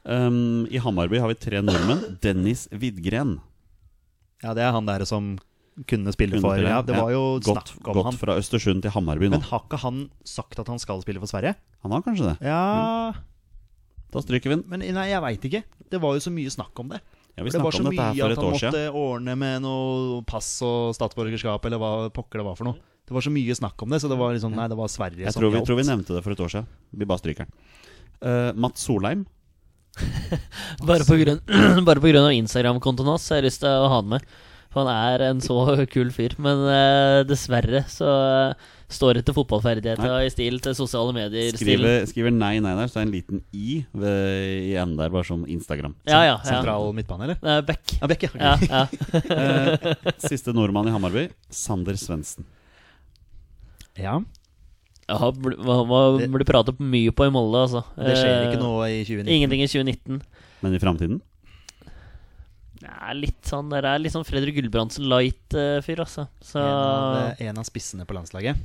Um, I Hammarby har vi tre nordmenn. Dennis Widgren. Ja, det er han der som kunne spille Kunne for spille, Ja, det ja. var jo Gått, snakk om gått han. fra Østersund til Hammarby nå. Men har ikke han sagt at han skal spille for Sverige? Han har kanskje det. Ja Da stryker vi den. Men nei, jeg veit ikke. Det var jo så mye snakk om det. Ja, vi For det var snakket så om dette mye her for at et han år måtte siden. ordne med noe pass og statsborgerskap, eller hva pokker det var for noe. Det var så mye snakk om det, så det var liksom Nei, det var Sverige Jeg som tror vi, gjaldt. tror vi nevnte det for et år siden. Vi bare stryker den. Uh, Mats Solheim. Bare på grunn, *clears throat* bare på grunn av Instagram-kontoen hans så har jeg lyst til å ha han med. For han er en så *laughs* kul fyr. Men eh, dessverre så eh, står ikke fotballferdighetene i stil til sosiale medier-stilen. Skriver, skriver nei, nei der, så er det en liten i ved, i enden der, bare som Instagram. Ja, ja, ja. Sentral midtbane, eller? Det er Beck. Ja, Bekke. Ja, ok. *laughs* ja. Eh, siste nordmann i Hammarby, Sander Svendsen. Ja. Ja, bl- hva- hva blir pratet mye på i Molde, altså. Det skjer Eh, ikke noe i 2019. Ingenting i 2019. Men i framtiden? Ja, litt sånn, det er litt sånn Fredrik Gulbrandsen light-fyr, altså. Så En av, en av spissene på landslaget.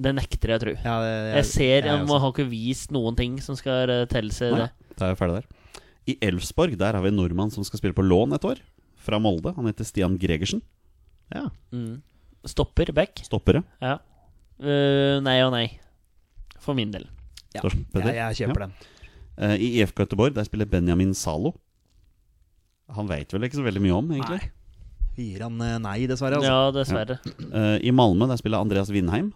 det nekter jeg å tro. Ja, det- Jeg ser, jeg må også. har ikke vist noen ting som skal eh, tilsi Nei, det. da er vi ferdig der. I Elfsborg der har vi en nordmann som skal spille på lån et år. Fra Molde. Han heter Stian Gregersen. Ja. Mm. Stopper Beck. Stoppere. Ja. Eh, nei og nei. For min del. Ja. Torsten Peder. Jeg, jeg kjøper Ja. den. Eh, I IFK Göteborg der spiller Benjamin Zalo. Han veit vel ikke så veldig mye om, egentlig. Nei. Vi gir han eh, nei, dessverre. Altså. Ja, dessverre. Eh, I Malmö der spiller Andreas Vindheim.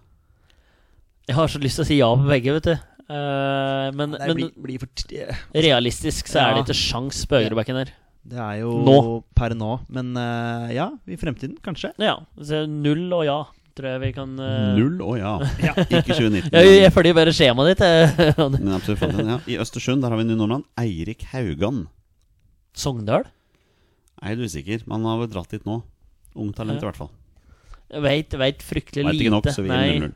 Jeg har så lyst til å si ja på begge, vet du. Eh, men, det, men blir, blir for t realistisk så er Ja. det ikke sjans på høyrebacken der. det er jo Nå. per nå, men eh, ja, i fremtiden kanskje. Ja, så null og ja, tror jeg vi kan eh, Null, å ja. *laughs* Ikke 2019. Jeg, jeg følger bare skjemaet ditt. eh. *laughs* Men absolutt fant den, ja. I Østersund der har vi en ny nordmann. Eirik Haugan. *laughs* Sogndal? Er litt usikker, men han har vel dratt dit nå. Ungt talent, i hvert fall. Jeg Veit, veit fryktelig Veit lite. ikke nok, så vi Nei. gir 0-0.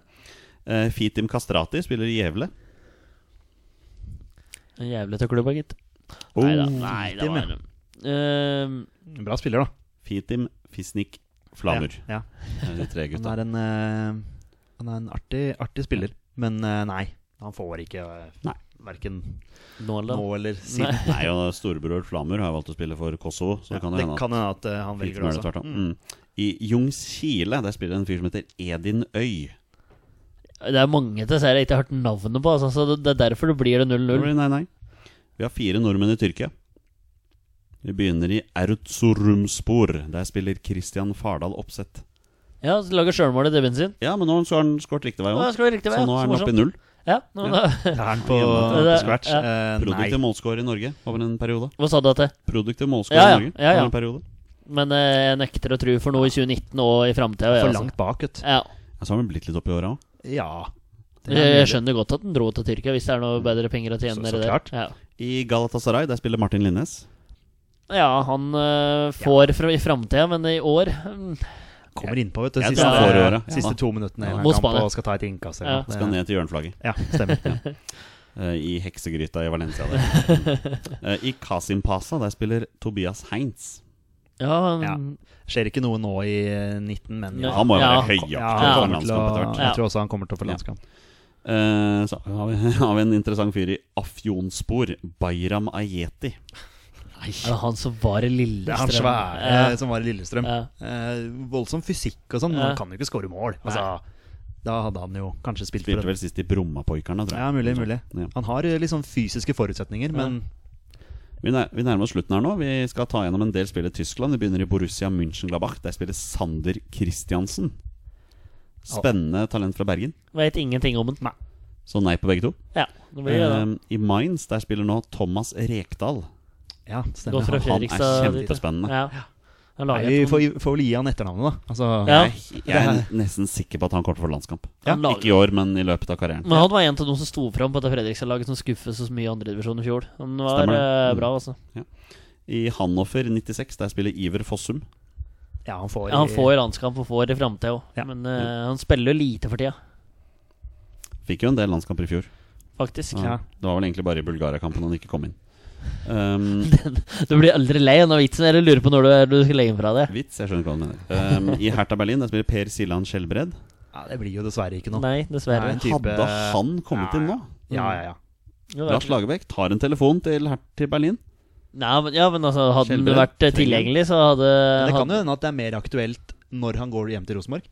Eh, Fitim Kastrati spiller i Gjævle. En jævlig til klubba, gitt. Oh, Neida, nei, det Fitim, var Eh, Bra spiller, da. Fitim Fisnik Flamur. Ja, ja. Det er De tre Han gutta. er en, eh, han er en artig, artig spiller, men eh, nei. Han får ikke uh, Nei. verken Nåla. nå eller siden. Nei, og storebror Flamur har valgt å spille for Kosovo, så Ja, det kan jo hende at hende at eh, han Liten velger det er det også. tvert om. Mm. I Jungskile der spiller en fyr som heter Edin Øy. Det er mange til serier jeg ikke har hørt navnet på, altså, så det det er derfor det blir det 0-0. Nei, nei. Mm. Vi har fire nordmenn i Tyrkia. Vi begynner i Erutsurumspor. Der spiller Christian Fardal Opseth. Ja, så lager sjølmål i debuten sin. Ja, men nå har han skåret riktig vei Å, òg. jeg skal være riktig vei. Så nå er han oppe i null. Ja, nå, Det er han på, Det er- på scratch. ja. Eh, nei. Produktiv målskårer i Norge over en periode. *laughs* Hva sa du at det? Produktiv målskårer Ja, ja, i Norge ja, ja. over en periode. Men eh, jeg nekter å tro for noe i 2019 og i framtida. For langt bak, vet du. Ja. Ja, så har han blitt litt opp i åra òg. Ja. Det er Jeg jeg mulig. skjønner godt at den dro til Tyrkia, hvis det er noe bedre penger å tjene Så- så nedi klart. der. Ja. I Galatasaray der spiller Martin Linnes. Ja, han eh, får fra, i framtida, men i år mm, Kommer innpå, vet du. Jeg Siste, tar forøret. Ja, siste da. to minuttene i Ja, en mot kamp Spania. og skal ta et innkast. Ja. eller Skal noe. ned til hjørneflagget. Ja, stemmer. eh, I heksegryta i Valencia. Der. *laughs* Eh, I Kasimpasa der spiller Tobias Heinz. Ja, Ja. Skjer ikke noe nå i 19, men Ja. Han må jo Ja. være høyaktig Ja, for han en kommer til å, landskamp etter hvert. Ja. jeg tror også han kommer til å få landskamp. Eh, Så har vi, *laughs* har vi en interessant fyr i Afjonspor, Bayram Ayeti. er det han som var i Det er han Lillestrøm? svære eh, som var i Lillestrøm. Ja. Eh, voldsom fysikk og sånn, men Ja. han kan jo ikke skåre mål. Altså, da hadde han jo kanskje spilt Spilte for det. vel sist i Brommapoikerne, tror jeg. Ja, mulig, mulig. Ja. Han har eh, liksom fysiske forutsetninger, men Vi, nær, vi nærmer oss slutten her nå. Vi skal ta gjennom en del spill i Tyskland. Vi begynner i Borussia München-Glabach. Der spiller Sander Christiansen. Spennende talent fra Bergen. Veit ingenting om den. Så nei på begge to. Ja, det blir det. Eh, I Mainz der spiller nå Thomas Rekdal. ja, Gå stemmer. fra Han Han- er Fredrikstad dit, da. kjempespennende. Ja. Han Eh, Nei, lager vi et får, sånt- vi får vel gi han etternavnet, da. Altså, Ja. Jeg, jeg er nesten sikker på at han kommer til å få landskamp. Ja, han lager- Ikke i år, men i løpet av karrieren. Men han var en av de som sto fram på dette Fredrikstad-laget som skuffet så mye i andredivisjon i fjor. Han var Stemmer det. eh, Mm. bra, altså. I Hanoffer 96 der spiller Iver Fossum. ja, han får, Ja, han får landskamp og får i framtida òg, Ja. men eh, han spiller jo lite for tida, Fikk jo en del landskamper i fjor. faktisk. Ja. Det var vel egentlig bare i Bulgaria-kampen han ikke kom inn. *laughs* Um, *laughs* Du blir aldri lei av den vitsen, eller lurer på når du, du skal legge den fra deg. vits, jeg skjønner ikke hva han mener. Um, I Hertha Berlin der spiller Per Siljan Skjelbred. ja, Det blir jo dessverre ikke noe. Nei, dessverre. Nei, en type- Hadde han kommet Ja, inn nå? Ja, ja, Eh, ja. Jo, det Lars er- Lagerbäck tar en telefon til, her- til Berlin. Nei, men, ja, men altså, hadde den Skjelbred vært eh, trenger- tilgjengelig, så hadde Men det hadde- kan jo hende at det er mer aktuelt når han går hjem til Rosenborg.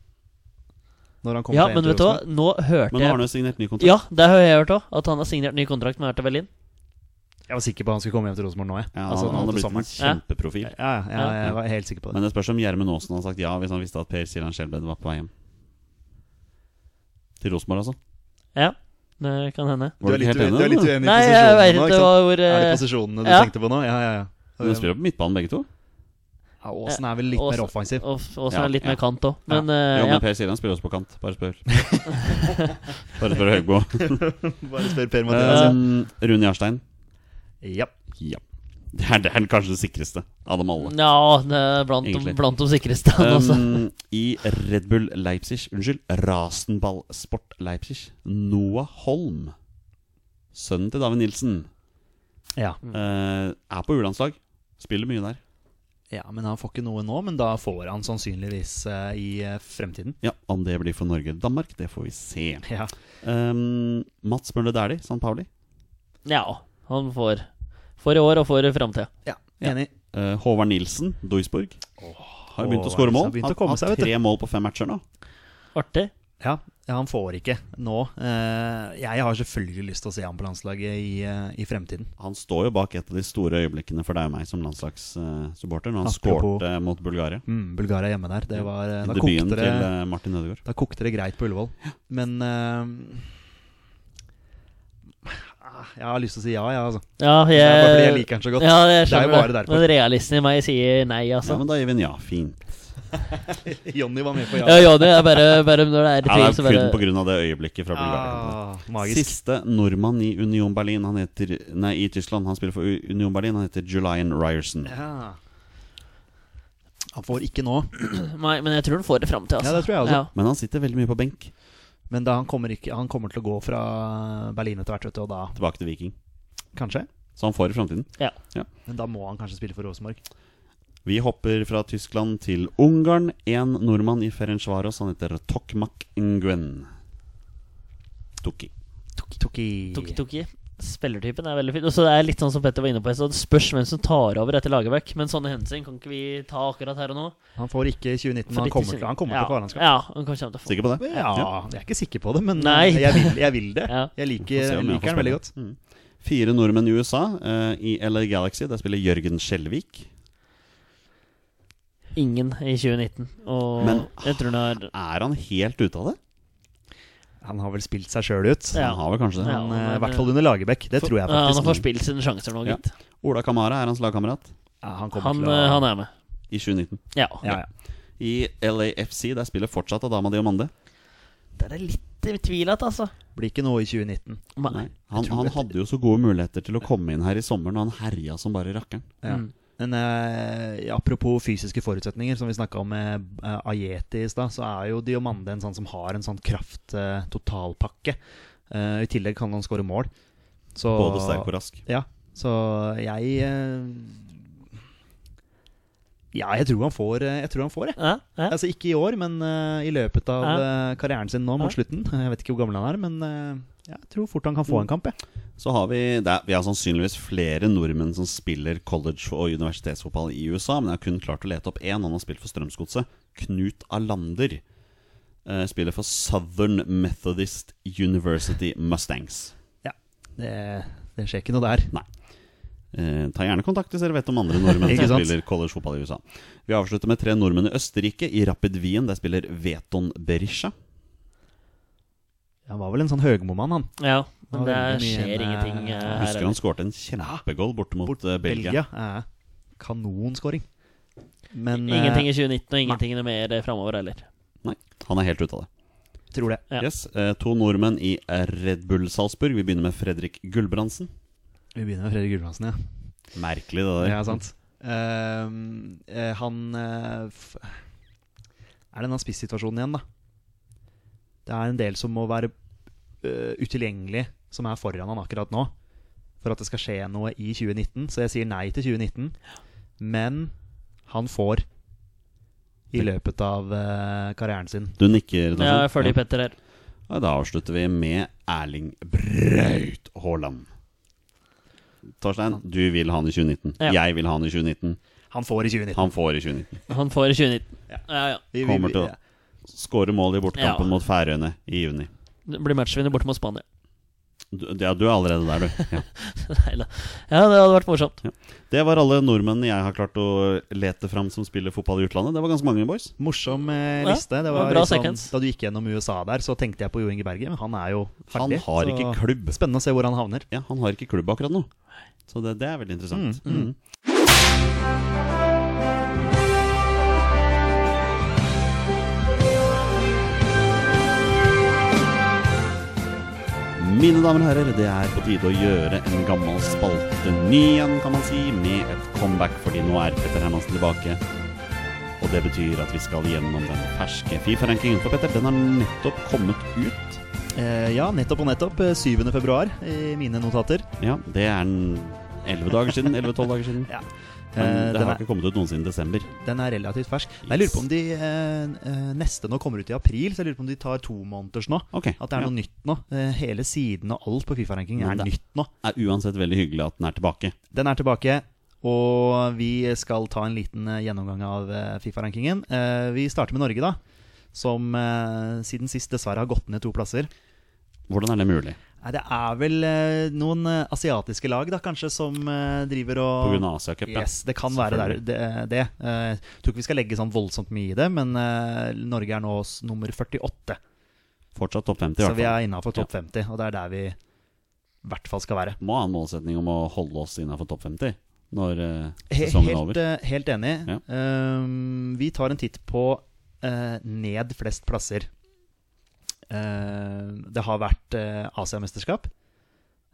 Når han kommer Ja, seg hjem men til vet du hva, Rosenborg. nå hørte Men nå har han jeg jo signert ny kontrakt. Ja, det har jeg hørt òg, at han har signert ny kontrakt med Hertha Berlin. Jeg var sikker på at han skulle komme hjem til Rosenborg nå, jeg. Ja, altså, han, nå han hadde til blitt en sommeren. kjempeprofil. Ja, ja, ja, jeg var helt sikker på det. Men det spørs om Gjermund Aasen hadde sagt ja hvis han visste at Per Siljan Skjelbred var på vei hjem. Til Rosenborg, altså. Ja, det kan hende. Var du, ikke helt enig? du er litt eller? uenig Nei, i jeg posisjonene veit nå, ikke ikke sant? hva- hvor Er det eh, posisjonene du ja. tenkte på nå? Ja, ja, ja. Men de spiller på midtbanen, begge to. ja Åsen er vel litt Åsen- mer offensiv. og f- og så Ja, er det litt ja. mer kant òg, men jo, eh, men ja. Per Siljan spiller også på kant. Bare spør. Bare spør Høgbo. Bare spør Per Mathias. Um, Rune Jarstein. Ja. Ja. Det er, det er kanskje det sikreste av dem *laughs* alle. Ja, det er blant, de, Egentlig. blant de sikreste, han også. Um, I Red Bull Leipzig Unnskyld, Rasenball Sport Leipzig. Noah Holm, sønnen til David Nilsen, ja. eh, er på U-landslag. Spiller mye der. Ja, men han får ikke noe nå, men da får han sannsynligvis eh, i eh, fremtiden. Ja, Om det blir for Norge eller Danmark, det får vi se. Ja. Um, Mats Møller Dæhlie, San Pauli. Ja, han får. For i år og for i framtida. ja. Enig. Eh, Håvard Nilsen, Duisburg. har begynt å Håvard skåre Nilsen mål. har begynt Han å komme har seg, vet du. tre mål på fem matcher nå. Artig. Ja, ja, han får ikke nå. Eh, jeg har selvfølgelig lyst til å se han på landslaget i, eh, i fremtiden. Han står jo bak et av de store øyeblikkene for deg og meg som landslagssupporter, når han Apropos- skårte mot Bulgaria. Mm, Bulgaria hjemme der. Det var, eh, da, Debuten kokte til det, eh, Martin Ødegaard. da kokte det greit på Ullevål. Men eh, jeg har lyst til å si ja, jeg, altså. Ja, Det jeg, er bare fordi jeg liker han så godt. Eh, Ja, jeg Det er jo skjønner bare det. derfor. Men realisten i meg sier nei, Ja, altså. men da gir vi en ja. Fint. *laughs* Jonny var med på Ja, Jonny er bare, bare når det er Ja, det tvil, er så kun bare pga. det øyeblikket fra Bulgaria. Ah, magisk. Siste nordmann i Union Berlin Han heter Nei, i Tyskland. Han spiller for U- Union Berlin. Han heter Julian Ryerson. Ja. Han får ikke nå, *clears throat* Nei, men jeg tror han får det fram til, altså. Ja, det tror jeg også. Ja. Men han sitter veldig mye på benk. men da han, kommer ikke, han kommer til å gå fra Berlin etter hvert, vet du, og da Tilbake til Viking. kanskje. Så han får i framtiden. Men da må han kanskje spille for Rosenborg. Vi hopper fra Tyskland til Ungarn. En nordmann i Ferencvaros. Han heter Tokmak Nguyen. Toki. Toki. Toki Toki. Spillertypen er veldig fin. Og så det er litt sånn som Petter var inne på i stad. Det spørs hvem som tar over etter Lagerbäck. Men sånne hensyn kan ikke vi ta akkurat her og nå. Han får ikke 2019, men For han litt i- kommer til, han kommer ja. til å få landskap. Ja, han kommer til å få Sikker på det? Ja, jeg er ikke sikker på det, men Nei. eh, jeg, vil, jeg vil det. *laughs* Ja. Får se Jeg liker, om jeg får liker han veldig spille. godt. Mm. Fire nordmenn i USA. eh, I LA Galaxy der spiller Jørgen Skjelvik. ingen i 2019. Og Men- jeg tror han har Er han helt ute av det? Han har vel spilt seg sjøl ut. Ja. Han har vel kanskje det. Ja. Men, eh, men, I hvert fall under Lagerbäck. Det tror Ja, jeg han har faktisk. forspilt sine sjanser nå, Ja. gitt. Ola Kamara er hans lagkamerat Ja, han kommer Han, til å eh, han er med. i 2019. Ja. ja, ja. I LAFC der spiller fortsatt Adama Diomande. Der er litt tvilete, altså. Blir ikke noe i 2019. Nei. Nei, han, han hadde jo så gode muligheter til å komme inn her i sommeren, og han herja som bare rakkeren. Ja. Mm. Men eh, apropos fysiske forutsetninger, som vi snakka om med eh, Ajeti i stad, så er jo Diomande en sånn som har en sånn kraft-totalpakke. Eh, I tillegg kan han skåre mål. Så, Både sterk og rask. Ja, så jeg eh, Ja, jeg tror han får, eh, jeg, tror han får jeg. Ja, ja. Altså Ikke i år, men eh, i løpet av eh, karrieren sin nå mot Ja. slutten. *laughs* Jeg vet ikke hvor gammel han er, men eh, jeg tror fort han kan Mm. få en kamp. Jeg. Så har vi det er, Vi har sannsynligvis flere nordmenn som spiller college- og universitetsfotball i USA, men jeg har kun klart å lete opp én. Han har spilt for Strømsgodset. Knut Alander. eh, Spiller for Southern Methodist University Mustangs. Det, det skjer ikke noe der. Eh, ta gjerne kontakt hvis dere vet om andre nordmenn Ikke som sant? spiller collegefotball i USA. Vi avslutter med tre nordmenn i Østerrike. I Rapid Wien der spiller Veton Berisha. Han var vel en sånn Høgmo-mann, han. ja men var det veldig mye skjer en, eh, ingenting eh, Jeg her. Husker han skåret en kjempegoal borte mot Bort- eh, Belgia. Belgia. eh, Kanonskåring. Men eh, Ingenting i 2019, og ingenting noe mer eh, framover heller. Nei, han er helt ute av det. tror det. Ja. Yes, eh, To nordmenn i Red Bull Salzburg. Vi begynner med Fredrik Gulbrandsen. Vi begynner med Fredrik Gulbrandsen, ja. Merkelig, det der. Ja, sant. Ehm, eh, han eh, f Er det denne spissituasjonen igjen, da? Det er en del som må være eh, utilgjengelig, som er foran han akkurat nå, for at det skal skje noe i 2019. Så jeg sier nei til 2019. Men han får i løpet av eh, karrieren sin. Du nikker, Torstein? Ja, jeg følger Petter her. Ja, Da avslutter vi med Erling Braut Haaland. Torstein, du vil ha han i 2019. Ja. Jeg vil ha han i 2019. Han får i 2019. Han får i 2019. Han får i 2019. Ja, ja. Vi- vi- kommer vi- til å- ja. Skåre mål i bortekampen Ja. mot Færøyene i juni. Det blir matchvinner borte mot Spania. *laughs* Du, ja, du er allerede der, du. Ja. Neida. Ja, det hadde vært morsomt. Det var alle nordmennene jeg har klart å lete fram som spiller fotball i utlandet. Det var ganske mange, boys. Morsom eh, Ja, liste. Det det var var bra litt sånn, sekvens. da du gikk gjennom USA der, så tenkte jeg på Jo Inge Berge, men han er jo Han ferdig. har så- ikke klubb. Spennende å se hvor han havner. Ja, han har ikke klubb akkurat nå. Så det, det er veldig interessant. Mm, Mine damer og herrer, det er på tide å gjøre en gammel spalte ny igjen, kan man si, med et comeback, fordi nå er Petter Hermansen tilbake. Og det betyr at vi skal gjennom den ferske Fifa-rankingen. For Petter, den har nettopp kommet ut. Eh, ja, nettopp og nettopp. eh, 7. februar i mine notater. Ja, det er den 11 dager siden, 11-12 dager siden. Ja. Eh, Men det den, har er, ikke kommet ut noen siden desember. den er relativt fersk. Men jeg lurer på om de eh, eh, neste nå kommer ut i april, så jeg lurer på om de tar to måneders nå. Ok, At det er noe nytt nå. Eh, hele siden og alt på Fifa-ranking er Men det- nytt nå. er uansett veldig hyggelig at den er tilbake. Den er tilbake, og vi skal ta en liten eh, gjennomgang av eh, Fifa-rankingen. Eh, Vi starter med Norge, da. Som eh, siden sist dessverre har gått ned to plasser. Hvordan er det mulig? Nei, det er vel eh, noen eh, asiatiske lag da, kanskje, som eh, driver og På grunn av Asia Cup, ja. Yes, det kan være der, Selvfølgelig. det. det. Eh, tror ikke vi skal legge sånn voldsomt mye i det, men eh, Norge er nå s- nummer 48. Fortsatt topp 50, i Så hvert vi fall. er innafor topp 50, og det er der vi i hvert fall skal være. Må ha en målsetning om å holde oss innafor topp 50 når eh, He sesongen er helt, over. eh, helt enig. Ja. Ehm, vi tar en titt på eh, ned flest plasser. Ehm, det har vært uh, Asiamesterskap,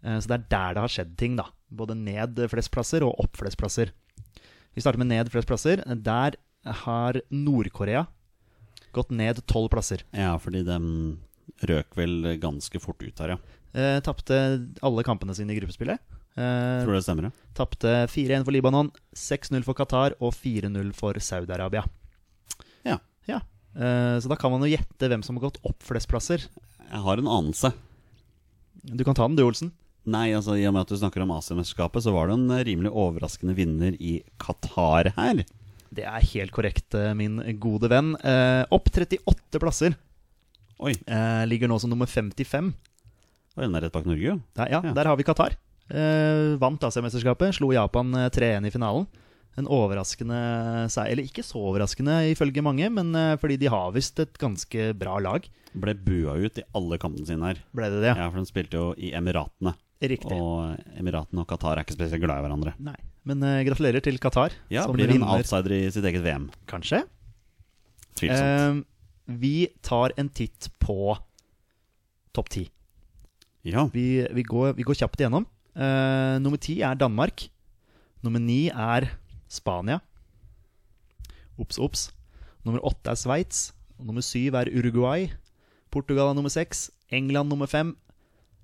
Eh, så det er der det har skjedd ting. da Både ned flest plasser og opp flest plasser. Vi starter med ned flest plasser. Der har Nord-Korea gått ned tolv plasser. Ja, fordi de røk vel ganske fort ut her, ja. Uh, Tapte alle kampene sine i gruppespillet. Uh, Tror du det stemmer? Ja? Tapte 4-1 for Libanon, 6-0 for Qatar og 4-0 for Saudi-Arabia. Ja. Eh, Så da kan man jo gjette hvem som har gått opp flest plasser. Jeg har en anelse. Du kan ta den, du, Olsen. Nei, altså i og med at du snakker om Asiamesterskapet, så var det en eh, rimelig overraskende vinner i Qatar her. Det er helt korrekt, eh, min gode venn. Eh, Opp 38 plasser. Oi, Eh, Ligger nå som nummer 55. var den der rett bak Norge, jo? Der, ja, Ja. der har vi Qatar. Eh, Vant Asiamesterskapet, slo Japan eh, 3-1 i finalen. En overraskende seier. Eller ikke så overraskende ifølge mange, men eh, fordi de har visst et ganske bra lag. Ble bua ut i alle kampene sine her. Ble det det? Ja, for de spilte jo i Emiratene. Riktig. Og Emiratene og Qatar er ikke spesielt glad i hverandre. Nei. Men eh, gratulerer til Qatar, Ja, som Blir en vinner. outsider i sitt eget VM. Kanskje. Tvilsomt. Eh, vi tar en titt på topp ti. ja. Vi, vi, går, vi går kjapt igjennom. Eh, nummer ti er Danmark. Nummer ni er Spania. Ops, ops. Nummer åtte er Sveits. Nummer syv er Uruguay. Portugal er nummer seks. England nummer fem.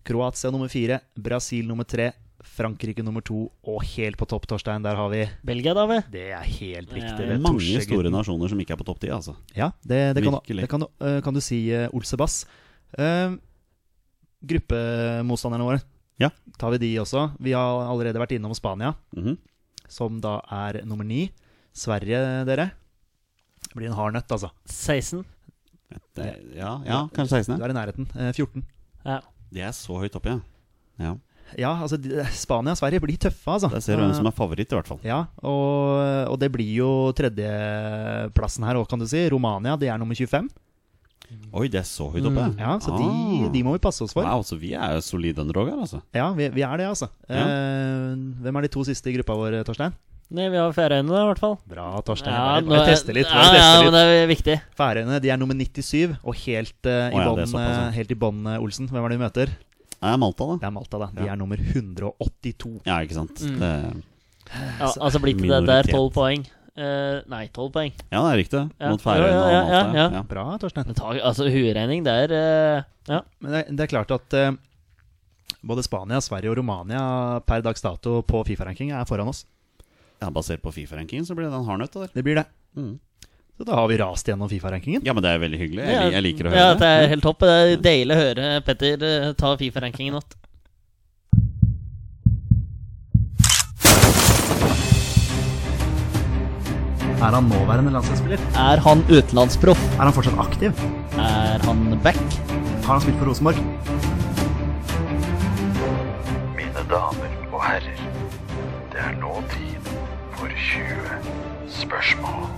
Kroatia nummer fire. Brasil nummer tre. Frankrike nummer to. Og helt på topp, Torstein, der har vi Belgia, da vel? Det er helt riktig. Ja, det er Mange Torsegutten. store nasjoner som ikke er på topp ti, altså. Ja, det, det, kan, du- Virkelig. det kan, du- eh, kan du si, eh, Olsebass. Eh, gruppemotstanderne våre. Ja. Tar vi de også? Vi har allerede vært innom Spania, Mhm. som da er nummer ni. Sverige, dere. Det blir en hard nøtt, altså. 16. det, ja, ja, kanskje 16. Du ja. er i nærheten. Eh, 14. Ja. Det er så høyt oppe, ja. ja. Ja, altså de- Spania og Sverige blir tøffe, altså. Eh, Der ser du hvem som er favoritt, i hvert fall. Ja, og, og det blir jo tredjeplassen her òg, kan du si. Romania, de er nummer 25. Oi, det er så høyt oppe. Mm, Ja, Så de, Ah. de må vi passe oss for. Wow, så vi er jo solide underdoger, altså. Ja, vi, vi er det, altså. Eh, hvem er de to siste i gruppa vår, Torstein? Nei, vi har Færøyene, da, i hvert fall. Bra, Torstein. Ja, bare nå er- bare teste litt. Ja, Bare ja, teste men litt. det er viktig. Færøyene de er nummer 97, og helt eh, Å i ja, bånn, det er såpass, ja. eh, helt i bånn, eh, Olsen. Hvem er det vi møter? Det er Malta, da. Det er Malta, da. De Ja. er nummer 182. Ja, ikke sant. Mm. Det, Ja, altså blir ikke det der Minoritet. 12 poeng. Eh, nei, 12 poeng. ja, det er riktig. Ja. Mot Færøyene Ja, ja, og ja, Malta. ja, ja. Bra, Torstein. Det tar, altså, hueregning, det er eh, Ja. Men det, det er klart at eh, både Spania, Sverige og Romania per dags dato på Fifa-ranking er foran oss. Ja, Basert på Fifa-rankingen så blir det en hard nøtt. det der. Det blir det. Mm. Så da har vi rast gjennom Fifa-rankingen. Ja, men det er veldig hyggelig. Jeg, lik- jeg liker å høre ja, det. det er helt topp. Det er deilig å høre Petter eh, ta Fifa-rankingen igjen. Er han nåværende landslagsspiller? Er han utenlandsproff? Er han fortsatt aktiv? Er han back? Har han spilt for Rosenborg? Mine damer og herrer, det er nå tid for 20 spørsmål.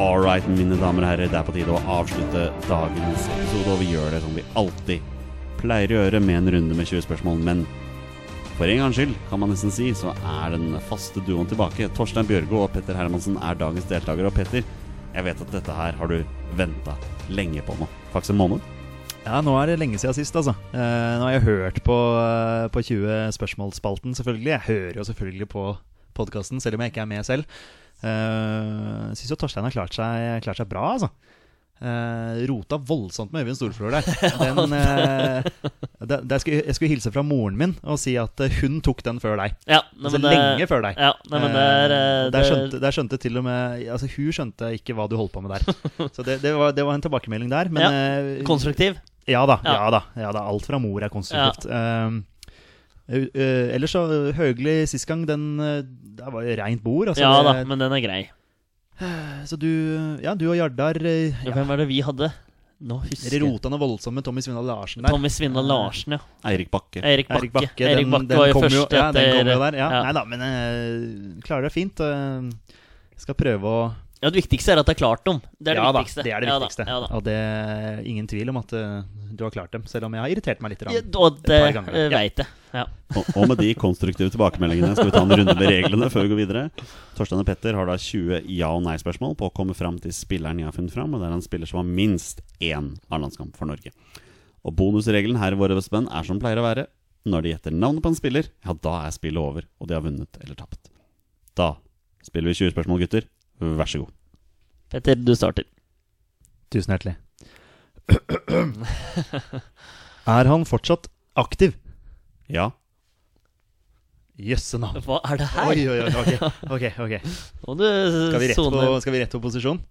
All right, mine damer og herrer, det er på tide å avslutte dagens episode. Og vi gjør det som vi alltid pleier å gjøre, med en runde med 20 spørsmål. Men for en gangs skyld, kan man nesten si, så er den faste duoen tilbake. Torstein Bjørgo og Petter Hermansen er dagens deltakere. Og Petter, jeg vet at dette her har du venta lenge på nå. Faktisk en måned. Ja, nå er det lenge siden sist, altså. Eh, nå har jeg hørt på, eh, på 20 spørsmålsspalten, selvfølgelig. Jeg hører jo selvfølgelig på podkasten, selv om jeg ikke er med selv. Uh, Syns jo Torstein har klart seg, klart seg bra, altså. Eh, rota voldsomt med Øyvind Storflor *laughs* der. Den, eh, det- det skulle, jeg skulle hilse fra moren min og si at eh, hun tok den før deg. Ja, Altså lenge før deg. Ja, nei, men det er eh, Eh, der, skjønte, der skjønte til og med Altså Hun skjønte ikke hva du holdt på *laughs* med der. Så det, det, var, det var en tilbakemelding der. Men eh, Konstruktiv. ja da, ja. Ja. da. ja da, Alt fra mor er konstruktivt. Ehm, ø- ø, ellers så ø, Høgli sist gang, den ø, Der var jo reint bord. Altså, ja da, det- men den er grei. Så du, ja, du og Jardar ø, ja, Hvem er det vi hadde? Nå husker Dere jeg rota noe voldsomt med Tommy Svindal Larsen der. Tommy Svindal Larsen, ja. Eirik Bakke. Erik Bakke. Erik Bakke. Erik den- Bakke den var jo kom først ja, den kom etter- jo der. Ja. ja. Nei da, men ø, klarer det fint. ø, skal prøve å Ja, Det viktigste er at det er klart dem. Det er det ja, viktigste. Da, det er det Ja da, viktigste. Ja, da. Og det er ingen tvil om at ø, du har klart dem, selv om jeg har irritert meg litt. grann. Ja, og det Et par ganger. eh, Ja. veit jeg. Ja. Og, og med de konstruktive tilbakemeldingene skal vi ta en runde med reglene før vi går videre. Torstein og Petter har da 20 ja- og nei-spørsmål på å komme fram til spilleren jeg har funnet fram, og det er en spiller som har minst én A-landskamp for Norge. Og bonusregelen her i Våre bestemenn er som pleier å være. Når de gjetter navnet på en spiller, ja, da er spillet over, og de har vunnet eller tapt. Da spiller vi 20 spørsmål, gutter. Vær så god. Petter, du starter. Tusen hjertelig. er han fortsatt aktiv? Ja. Jøsse navn. Hva er det her? Oi, oi, oi. Ok, ok. ok. Nå må du Skal, vi rett på, sone skal vi rett på posisjon?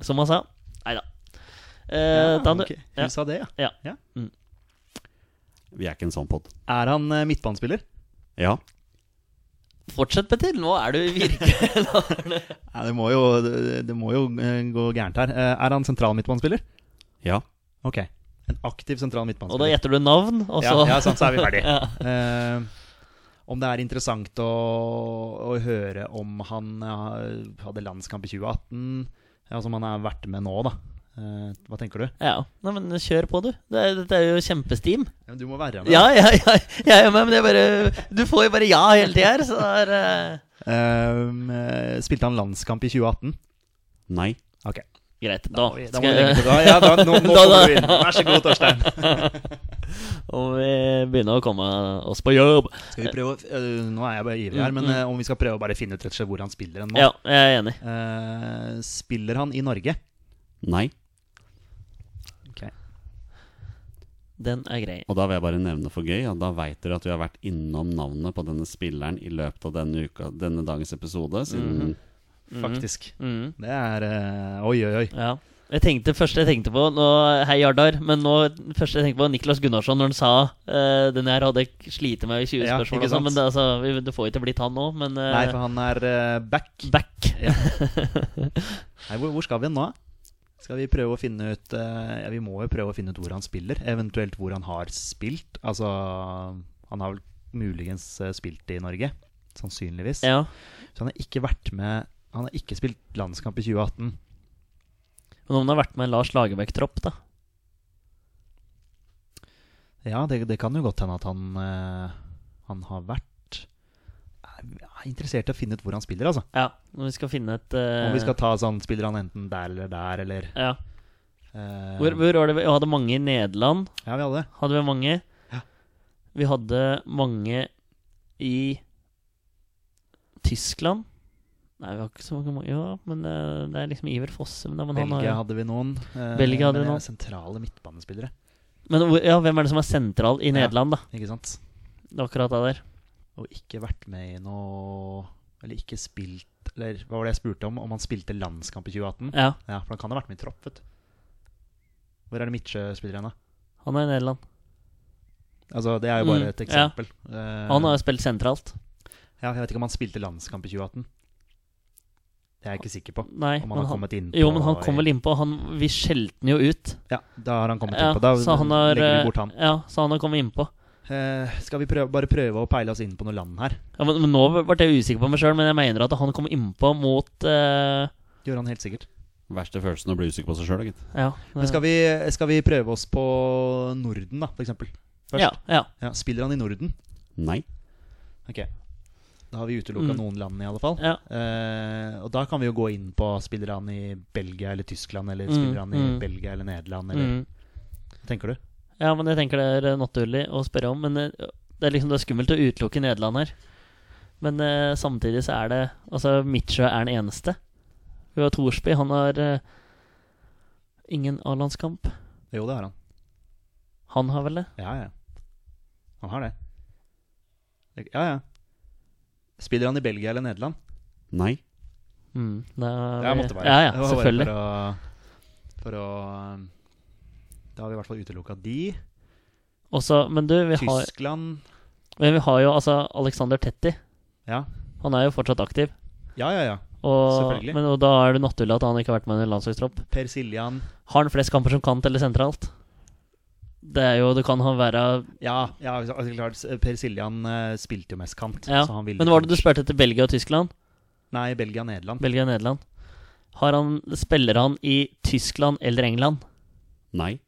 Som han sa. Nei da. Eh, da du. ok. Ja. Hun sa det, ja. Vi er ikke en sånn pod. Er han eh, midtbanespiller? Ja. Fortsett, Petter. Nå er du *laughs* virkelig Nå er det- Nei, det må jo, det, det må jo eh, gå gærent her. Eh, Er han sentral midtbanespiller? Ja. Ok. En aktiv sentral Og da midtbanespiller. gjetter du navn, og så ja, ja, sånn, så er vi ferdig. *laughs* Ja. Eh, om det er interessant å, å høre om han eh, hadde landskamp i 2018, ja, som han har vært med nå, da. Eh, hva tenker du? Ja, Nei, men kjør på, du. Det er, dette er jo kjempesteam. Ja, du må være med. Ja, ja, ja, ja, ja men det er bare Du får jo bare ja hele tida her, så det er eh, Ehm, eh, spilte han landskamp i 2018? Nei. Ok. Greit. Da Oi, da må skal *laughs* du legge jeg på da. Ja, da, nå, nå Da- kommer da- du inn. Vær så god, Torstein. Og vi begynner å komme oss på jobb. *laughs* Skal vi prøve å, øh, Nå er jeg bare ivrig her, men øh, om vi skal prøve å bare finne ut rett og slett hvor han spiller hen nå? Mm, Ja, jeg er enig. Eh, spiller han i Norge? Nei. Den er grei. Og da vil jeg bare nevne for gøy at da veit dere at vi har vært innom navnet på denne spilleren i løpet av denne, uka, denne dagens episode. Siden Faktisk. Mm, Det er øh, Oi, oi, oi. ja. Jeg tenkte, første jeg tenkte på nå, Hei, Jardar. Men nå, første jeg tenkte på, Niklas Gunnarsson, når han sa eh, Den her hadde jeg slitt med i 20 Ja, spørsmål. ikke og sånn, sant? men det, altså, vi, det får ikke blitt han nå, men eh, Nei, for han er øh, back. back. Nei, hvor, hvor skal vi nå? Skal vi prøve å finne ut øh, Ja, vi må jo prøve å finne ut hvor han spiller. Eventuelt hvor han har spilt. Altså Han har vel muligens øh, spilt i Norge. Sannsynligvis. *laughs* Ja. Så han har ikke vært med Han har ikke spilt landskamp i 2018. Men om han har vært med en Lars Lagerbäck-tropp, da? Ja, det, det kan jo godt hende at han, eh, han har vært Jeg er interessert i å finne ut hvor han spiller, altså. Ja, når vi skal finne et eh, Om vi skal ta sånn, spiller han enten der eller der, eller ja. eh, Hvor, hvor var det vi vi hadde mange i Nederland? Ja, vi hadde det. Hadde vi mange? Ja. Vi hadde mange i Tyskland. Nei, vi har ikke så mange mange- Ja, men eh, det er liksom Iver Fosse. Men, men, han har, Belgia jo- hadde vi noen. eh, Belgia hadde vi men det er noen. Sentrale midtbanespillere, men hvor- ja, hvem er det som er sentral i Nederland, da? ikke sant. Det er akkurat det der. Og ikke vært med i noe Eller ikke spilt Eller hva var det jeg spurte om? Om han spilte landskamp i 2018? Ja, Ja, for han kan ha vært med i tropp, vet du. Hvor er det Midtsjø-spilleren, da? han er i Nederland. Altså, det er jo bare Mm, et ja. eksempel. Eh, Han har jo spilt sentralt. Ja, jeg vet ikke om han spilte landskamp i 2018. Det er jeg ikke sikker på. Nei, Om han har men han, kommet inn jo, men han kom vel innpå. Han, vi skjelte han jo ut. Ja, da har han kommet Ja, inn på. Da så han har, legger eh, vi bort han. Ja, så han har kommet innpå. Eh, skal vi prøve, bare prøve å peile oss inn på noe land her? Ja, men, men Nå ble jeg usikker på meg sjøl, men jeg mener at han kom innpå mot eh, Gjør han helt sikkert. Verste følelsen å bli usikker på seg sjøl, gitt. Ja. Men skal vi, skal vi prøve oss på Norden, da, for eksempel? eh, Ja, ja. Ja, spiller han i Norden? Nei. Ok. Da har vi utelukka Mm. noen land, i alle fall. Ja. Eh, og da kan vi jo gå inn på spiller han i Belgia eller Tyskland, eller Mm, spiller han i mm. Belgia eller Nederland, eller Mm. Hva tenker du? ja, men jeg tenker det er eh, naturlig å spørre om. Men eh, det er liksom det er skummelt å utelukke Nederland her. Men eh, samtidig så er det Altså, Midtsjø er den eneste. Vi har Thorsby. Han har eh, ingen A-landskamp. Jo, det har han. Han har vel det? Ja, ja. Han har det. Ja, ja. Spiller han i Belgia eller Nederland? Nei. Mm, da er Ja, vi- måtte være. Ja, ja, Det var bare selvfølgelig. For å, for å um, Da har vi i hvert fall utelukka de. Også, men du, vi har, Tyskland men vi har jo altså Alexander Tetti. Ja, Han er jo fortsatt aktiv. ja, ja. ja. Og, Selvfølgelig. men, og da er det naturlig at han ikke har vært med i en landslagstropp. Per Siljan. Har han flest kamper som kant eller sentralt? Det er jo, det kan han være Ja, ja altså, klart, s- Per Siljan eh, spilte jo mest kant. ja. så han ville Men var det du kanskje- spurte etter Belgia og Tyskland? Nei, Belgia-Nederland. Belgia og Nederland. Har han, spiller han i Tyskland eller England? Nei.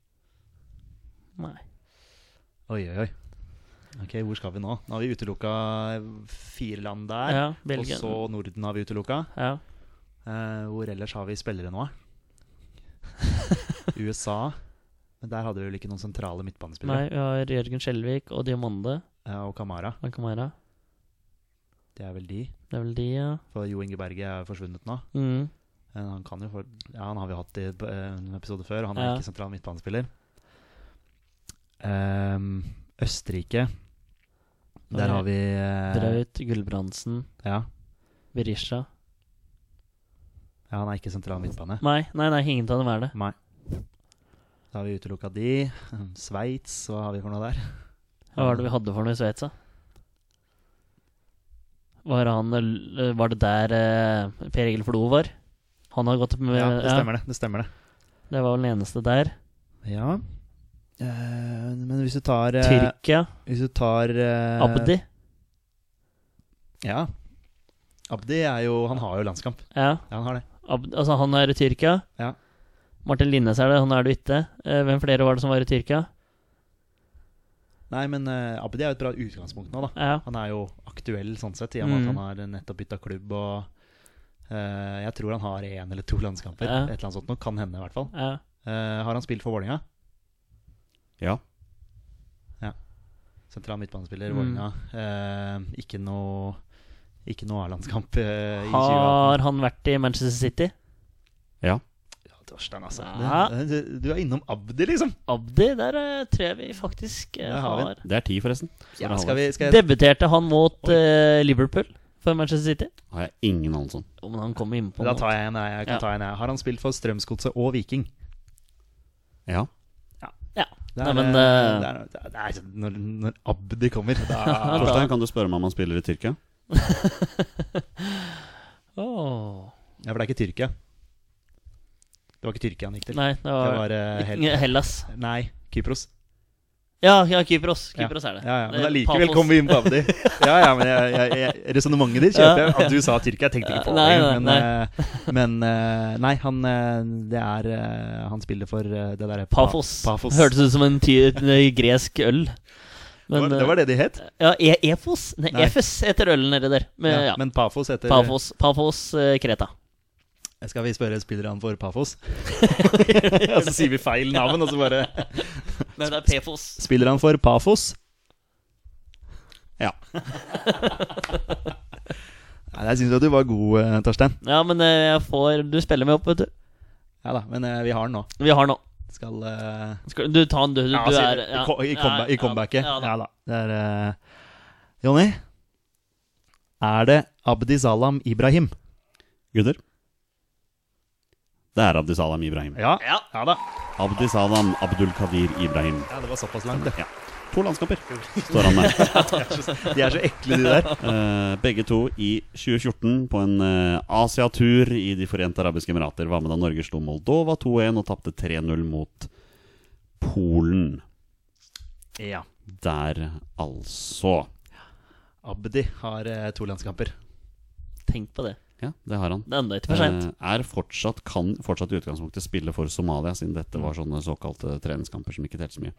Nei. Oi, oi, oi. Ok, Hvor skal vi nå? Nå har vi utelukka eh, fire land der. Ja, og Belgia. så Norden har vi utelukka. Ja. Eh, hvor ellers har vi *laughs* spillere nå? USA. Men der hadde vi vel ikke noen sentrale Nei, midtbanespillere. vi har Jørgen Skjelvik og Diamande. Eh, og Kamara. Ankamaira. Det er vel de. Det er vel de, ja. For Jo Inge Berge er forsvunnet nå. Mm. Eh, han kan jo for... Ja, han har vi hatt i eh, en episode før. og Han er Ja. ikke sentral midtbanespiller. Ehm, Østerrike. Der har vi eh, Braut, Gulbrandsen, Ja. Berisha. ja, han er ikke sentral midtbane. Nei, nei, nei, ingen av dem er det. Nei. Da har vi utelukka de. *laughs* Sveits, hva har vi for noe der? Hva var det vi hadde for noe i Sveits, da? Var, han, var det der eh, Per Egil Flo var? Han har gått med Ja, det stemmer det. det, stemmer det. det var vel den eneste der. Ja. Eh, men hvis du tar eh, Tyrkia. Hvis du tar eh, Abdi. Ja. Abdi er jo Han har jo landskamp. Ja. Ja, han har det. Abdi, altså, han er i Tyrkia. Ja. Martin Linnes er det, han er det ikke. Eh, hvem flere var det som var i Tyrkia? Nei, men eh, Abdi er jo et bra utgangspunkt nå, da. Ja. Han er jo aktuell sånn sett, i og Mm. med at han har nettopp bytta klubb og eh, Jeg tror han har én eller to landskamper. Ja. Et eller annet sånt noe. Kan hende, i hvert fall. ja. Eh, har han spilt for Vålerenga? Ja. Sentral midtbanespiller, Mm. Vålerenga. Eh, ikke noe Ikke noe A-landskamp eh, i 2018. Har han vært i Manchester City? Ja. Ja, Torstein, altså. Ja. Det- Du, du er innom Abdi, liksom. Abdi, der eh, tror jeg vi faktisk eh, Der har vi den. har. Det er ti, forresten. Så det skal vi, skal jeg, Debuterte han mot eh, Liverpool for Manchester City? har jeg ingen anelse om. Jo, men han kom innpå da tar jeg en, jeg kan Ja. ta en. jeg. Har han spilt for Strømsgodset og Viking? Ja. Ja. Det er, Nei, men eh, eh, det er, det er, når, når Abdi kommer, da Torstein, kan du spørre meg om han spiller i Tyrkia? åh. Ja, for det er ikke Tyrkia. Det var ikke Tyrkia han gikk til. Nei, det var, Det var, eh, Hell- Ikke- Hellas. Nei, Kypros. Ja, ja, Kypros. Kypros ja. er det. Ja, ja, men Det er allikevel Eh, Paphos. kom vi inn på *laughs* Abdi. Ja, ja, men jeg, jeg, jeg, resonnementet ditt kjøper jeg. At du sa Tyrkia, jeg tenkte ikke på det. Nei, nei, Men, eh, men eh, nei, han, eh, det er, eh, han spiller for eh, det derre pa- Paphos. Paphos. Hørtes ut som en, ty en eh, gresk øl. Det var- Men, det var det de het. eh, Ja, e Efos? Nei, Nei. Efes heter ølen nedi der. Men, ja, Ja, men Pafos heter Eh, Paphos, Paphos eh, Kreta. Skal vi spørre spillerne *laughs* for Pafos? *laughs* og så sier vi feil navn, og så bare Nei, det er Pefos. Spiller han for Pafos? *laughs* Ja. Nei, Jeg syns jo at du var god, eh, Torstein. Ja, men eh, jeg får Du spiller meg opp, vet du. Ja da, men eh, vi har den nå. Vi har nå. Skal eh, Skal du ta den, du? Du, ja, du si er det. I co- I, comeba I comebacket. Ja, Ja, ja, da. da. Det er eh, Jonny? Er det Abdi Salam Ibrahim? Gutter? Det er Abdi Salam Ibrahim. Ja. Ja. ja da. Abdi Salam Abdul Kadir Ibrahim. Ja, Det var såpass langt, det. Ja. To landskamper står han med. De er så ekle, de *laughs* der. Eh, begge to i 2014 på en eh, Asiatur i De forente arabiske emirater. Var med da Norge slo Moldova 2-1 og tapte 3-0 mot Polen. Ja. Der, altså. Abdi har eh, to landskamper. Tenk på det. Ja, det har han. Det er ennå ikke for seint. Eh, Er fortsatt, kan fortsatt i utgangspunktet spille for Somalia, siden dette var sånne såkalte treningskamper som ikke telte så mye.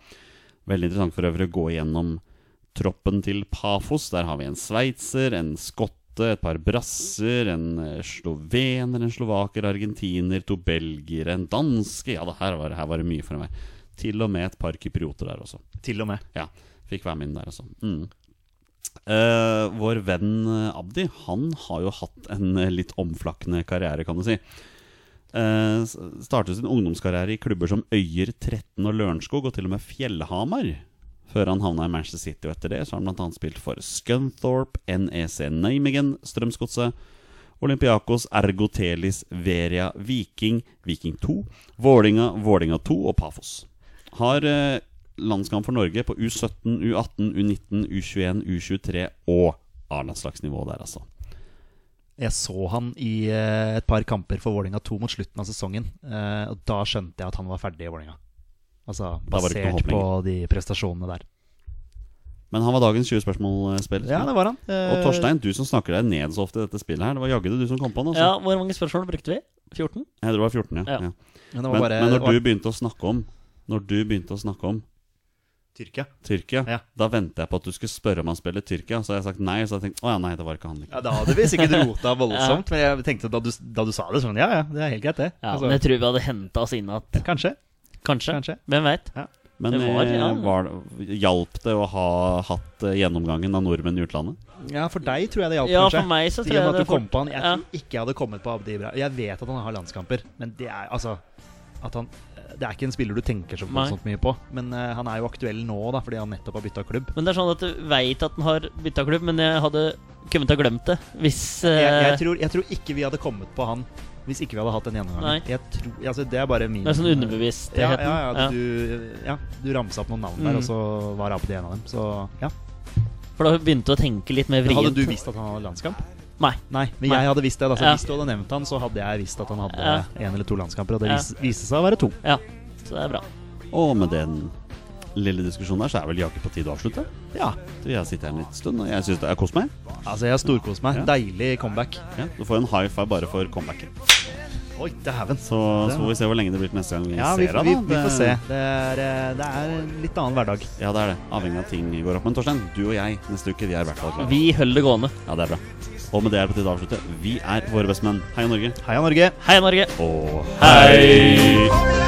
Veldig interessant for øvrig å gå gjennom troppen til Pafos. Der har vi en sveitser, en skotte, et par brasser, en eh, slovener, en slovaker, argentiner, to belgiere, en danske Ja, det her var, her var det mye for meg. Til og med et par kyprioter der også. Til og med. Ja, fikk være med inn der også. Mm. Eh, vår venn eh, Abdi Han har jo hatt en eh, litt omflakkende karriere, kan du si. Eh, s- startet sin ungdomskarriere i klubber som Øyer, 13 og Lørenskog, og til og med Fjellhamar. Før han havna i Manchester City, og etter det så har han bl.a. spilt for Scunthorpe, NEC Nijmegen, Strømsgodset, Olympiakos, Ergo Telis, Veria, Viking, Viking 2, Vålinga, Vålinga 2 og Pafos. Har eh, landskamp for Norge på U17, U18, U19, U21, U23 og A-landslagsnivå der, altså. Jeg så han i eh, et par kamper for Vålinga 2 mot slutten av sesongen. eh, og da skjønte jeg at han var ferdig i Vålinga. Altså Da var det ikke noe basert håp på de prestasjonene der. Men han var dagens 20 spørsmål-spiller. Ja, det var han. og Torstein, du som snakker deg ned så ofte i dette spillet her, det var jaggu det du som kom på den. Ja, Altså. hvor mange spørsmål brukte vi? 14? Jeg tror det var 14, ja. Ja. ja. Eh, Men, Men, det var bare, men det var når du begynte å snakke om Når du begynte å snakke om Tyrkia. Tyrkia, Ja. da venta jeg på at du skulle spørre om han spiller Tyrkia. Så har jeg sagt nei, så har jeg tenkt å ja, nei, det var ikke han. Ikke. Ja, Da hadde vi sikkert rota *laughs* voldsomt, men jeg tenkte da du, da du sa det sånn Ja, ja, det er helt greit, det. Ja, Altså, men jeg tror vi hadde henta oss inn at Kanskje. Kanskje. Kanskje. Hvem veit? Men Det var, eh, ja. var, hjalp det å ha hatt eh, gjennomgangen av nordmenn i utlandet? Ja, for deg tror jeg det hjalp, Ja, kanskje. for meg så tror I og jeg med at det du kom fort- på han Jeg ja. tror ikke jeg hadde kommet på Abdi Ibra. Jeg vet at han har landskamper, men det er altså at han, Det er ikke en spiller du tenker så Nei. voldsomt mye på. Men eh, han er jo aktuell nå, da, fordi han nettopp har bytta klubb. Men det er sånn at du veit at den har bytta klubb, men jeg hadde kommet til å ha glemt det hvis eh, Jeg, jeg, tror, jeg tror ikke vi hadde kommet på han hvis ikke vi hadde hatt den Nei. gjennomgangen. Jeg tror, altså, det er bare min Det er sånn Ja, underbevisstheten. ja, ja, du, ja, du ramsa opp noen navn der, Mm. og så var Abdi en av dem. Så ja. For da begynte du å tenke litt mer Men vrient. Hadde du visst at han hadde landskamp? Nei. Nei, men Nei. jeg hadde visst det. Altså, Ja. Hvis du hadde nevnt han, så hadde jeg visst at han hadde Ja. en eller to landskamper, og det Ja. vis- viste seg å være to. Ja, så det er bra. Og med den lille diskusjonen der, så er vel jaggu på tide å avslutte. Ja, Vi har sittet her en liten stund, og jeg syns det har kost meg. altså jeg har storkost meg. Ja. Deilig comeback. Ja, du får en high five bare for comebacket. Oi, dæven. Så, så får vi se hvor lenge det blir til neste gang vi Ja, vi, ser deg, vi, da. vi får se. Det- Det er, eh, det er en litt annen hverdag. Ja, det er det. Avhengig av ting går opp. Men Torstein, du og jeg neste uke, vi er i hvert fall klare. Vi holder det gående. Ja, det er bra. Og med det er det på tide å avslutte. Vi er våre bestemenn. Heia Norge. Heia Norge. Heia Norge! Og hei! Kom igjen,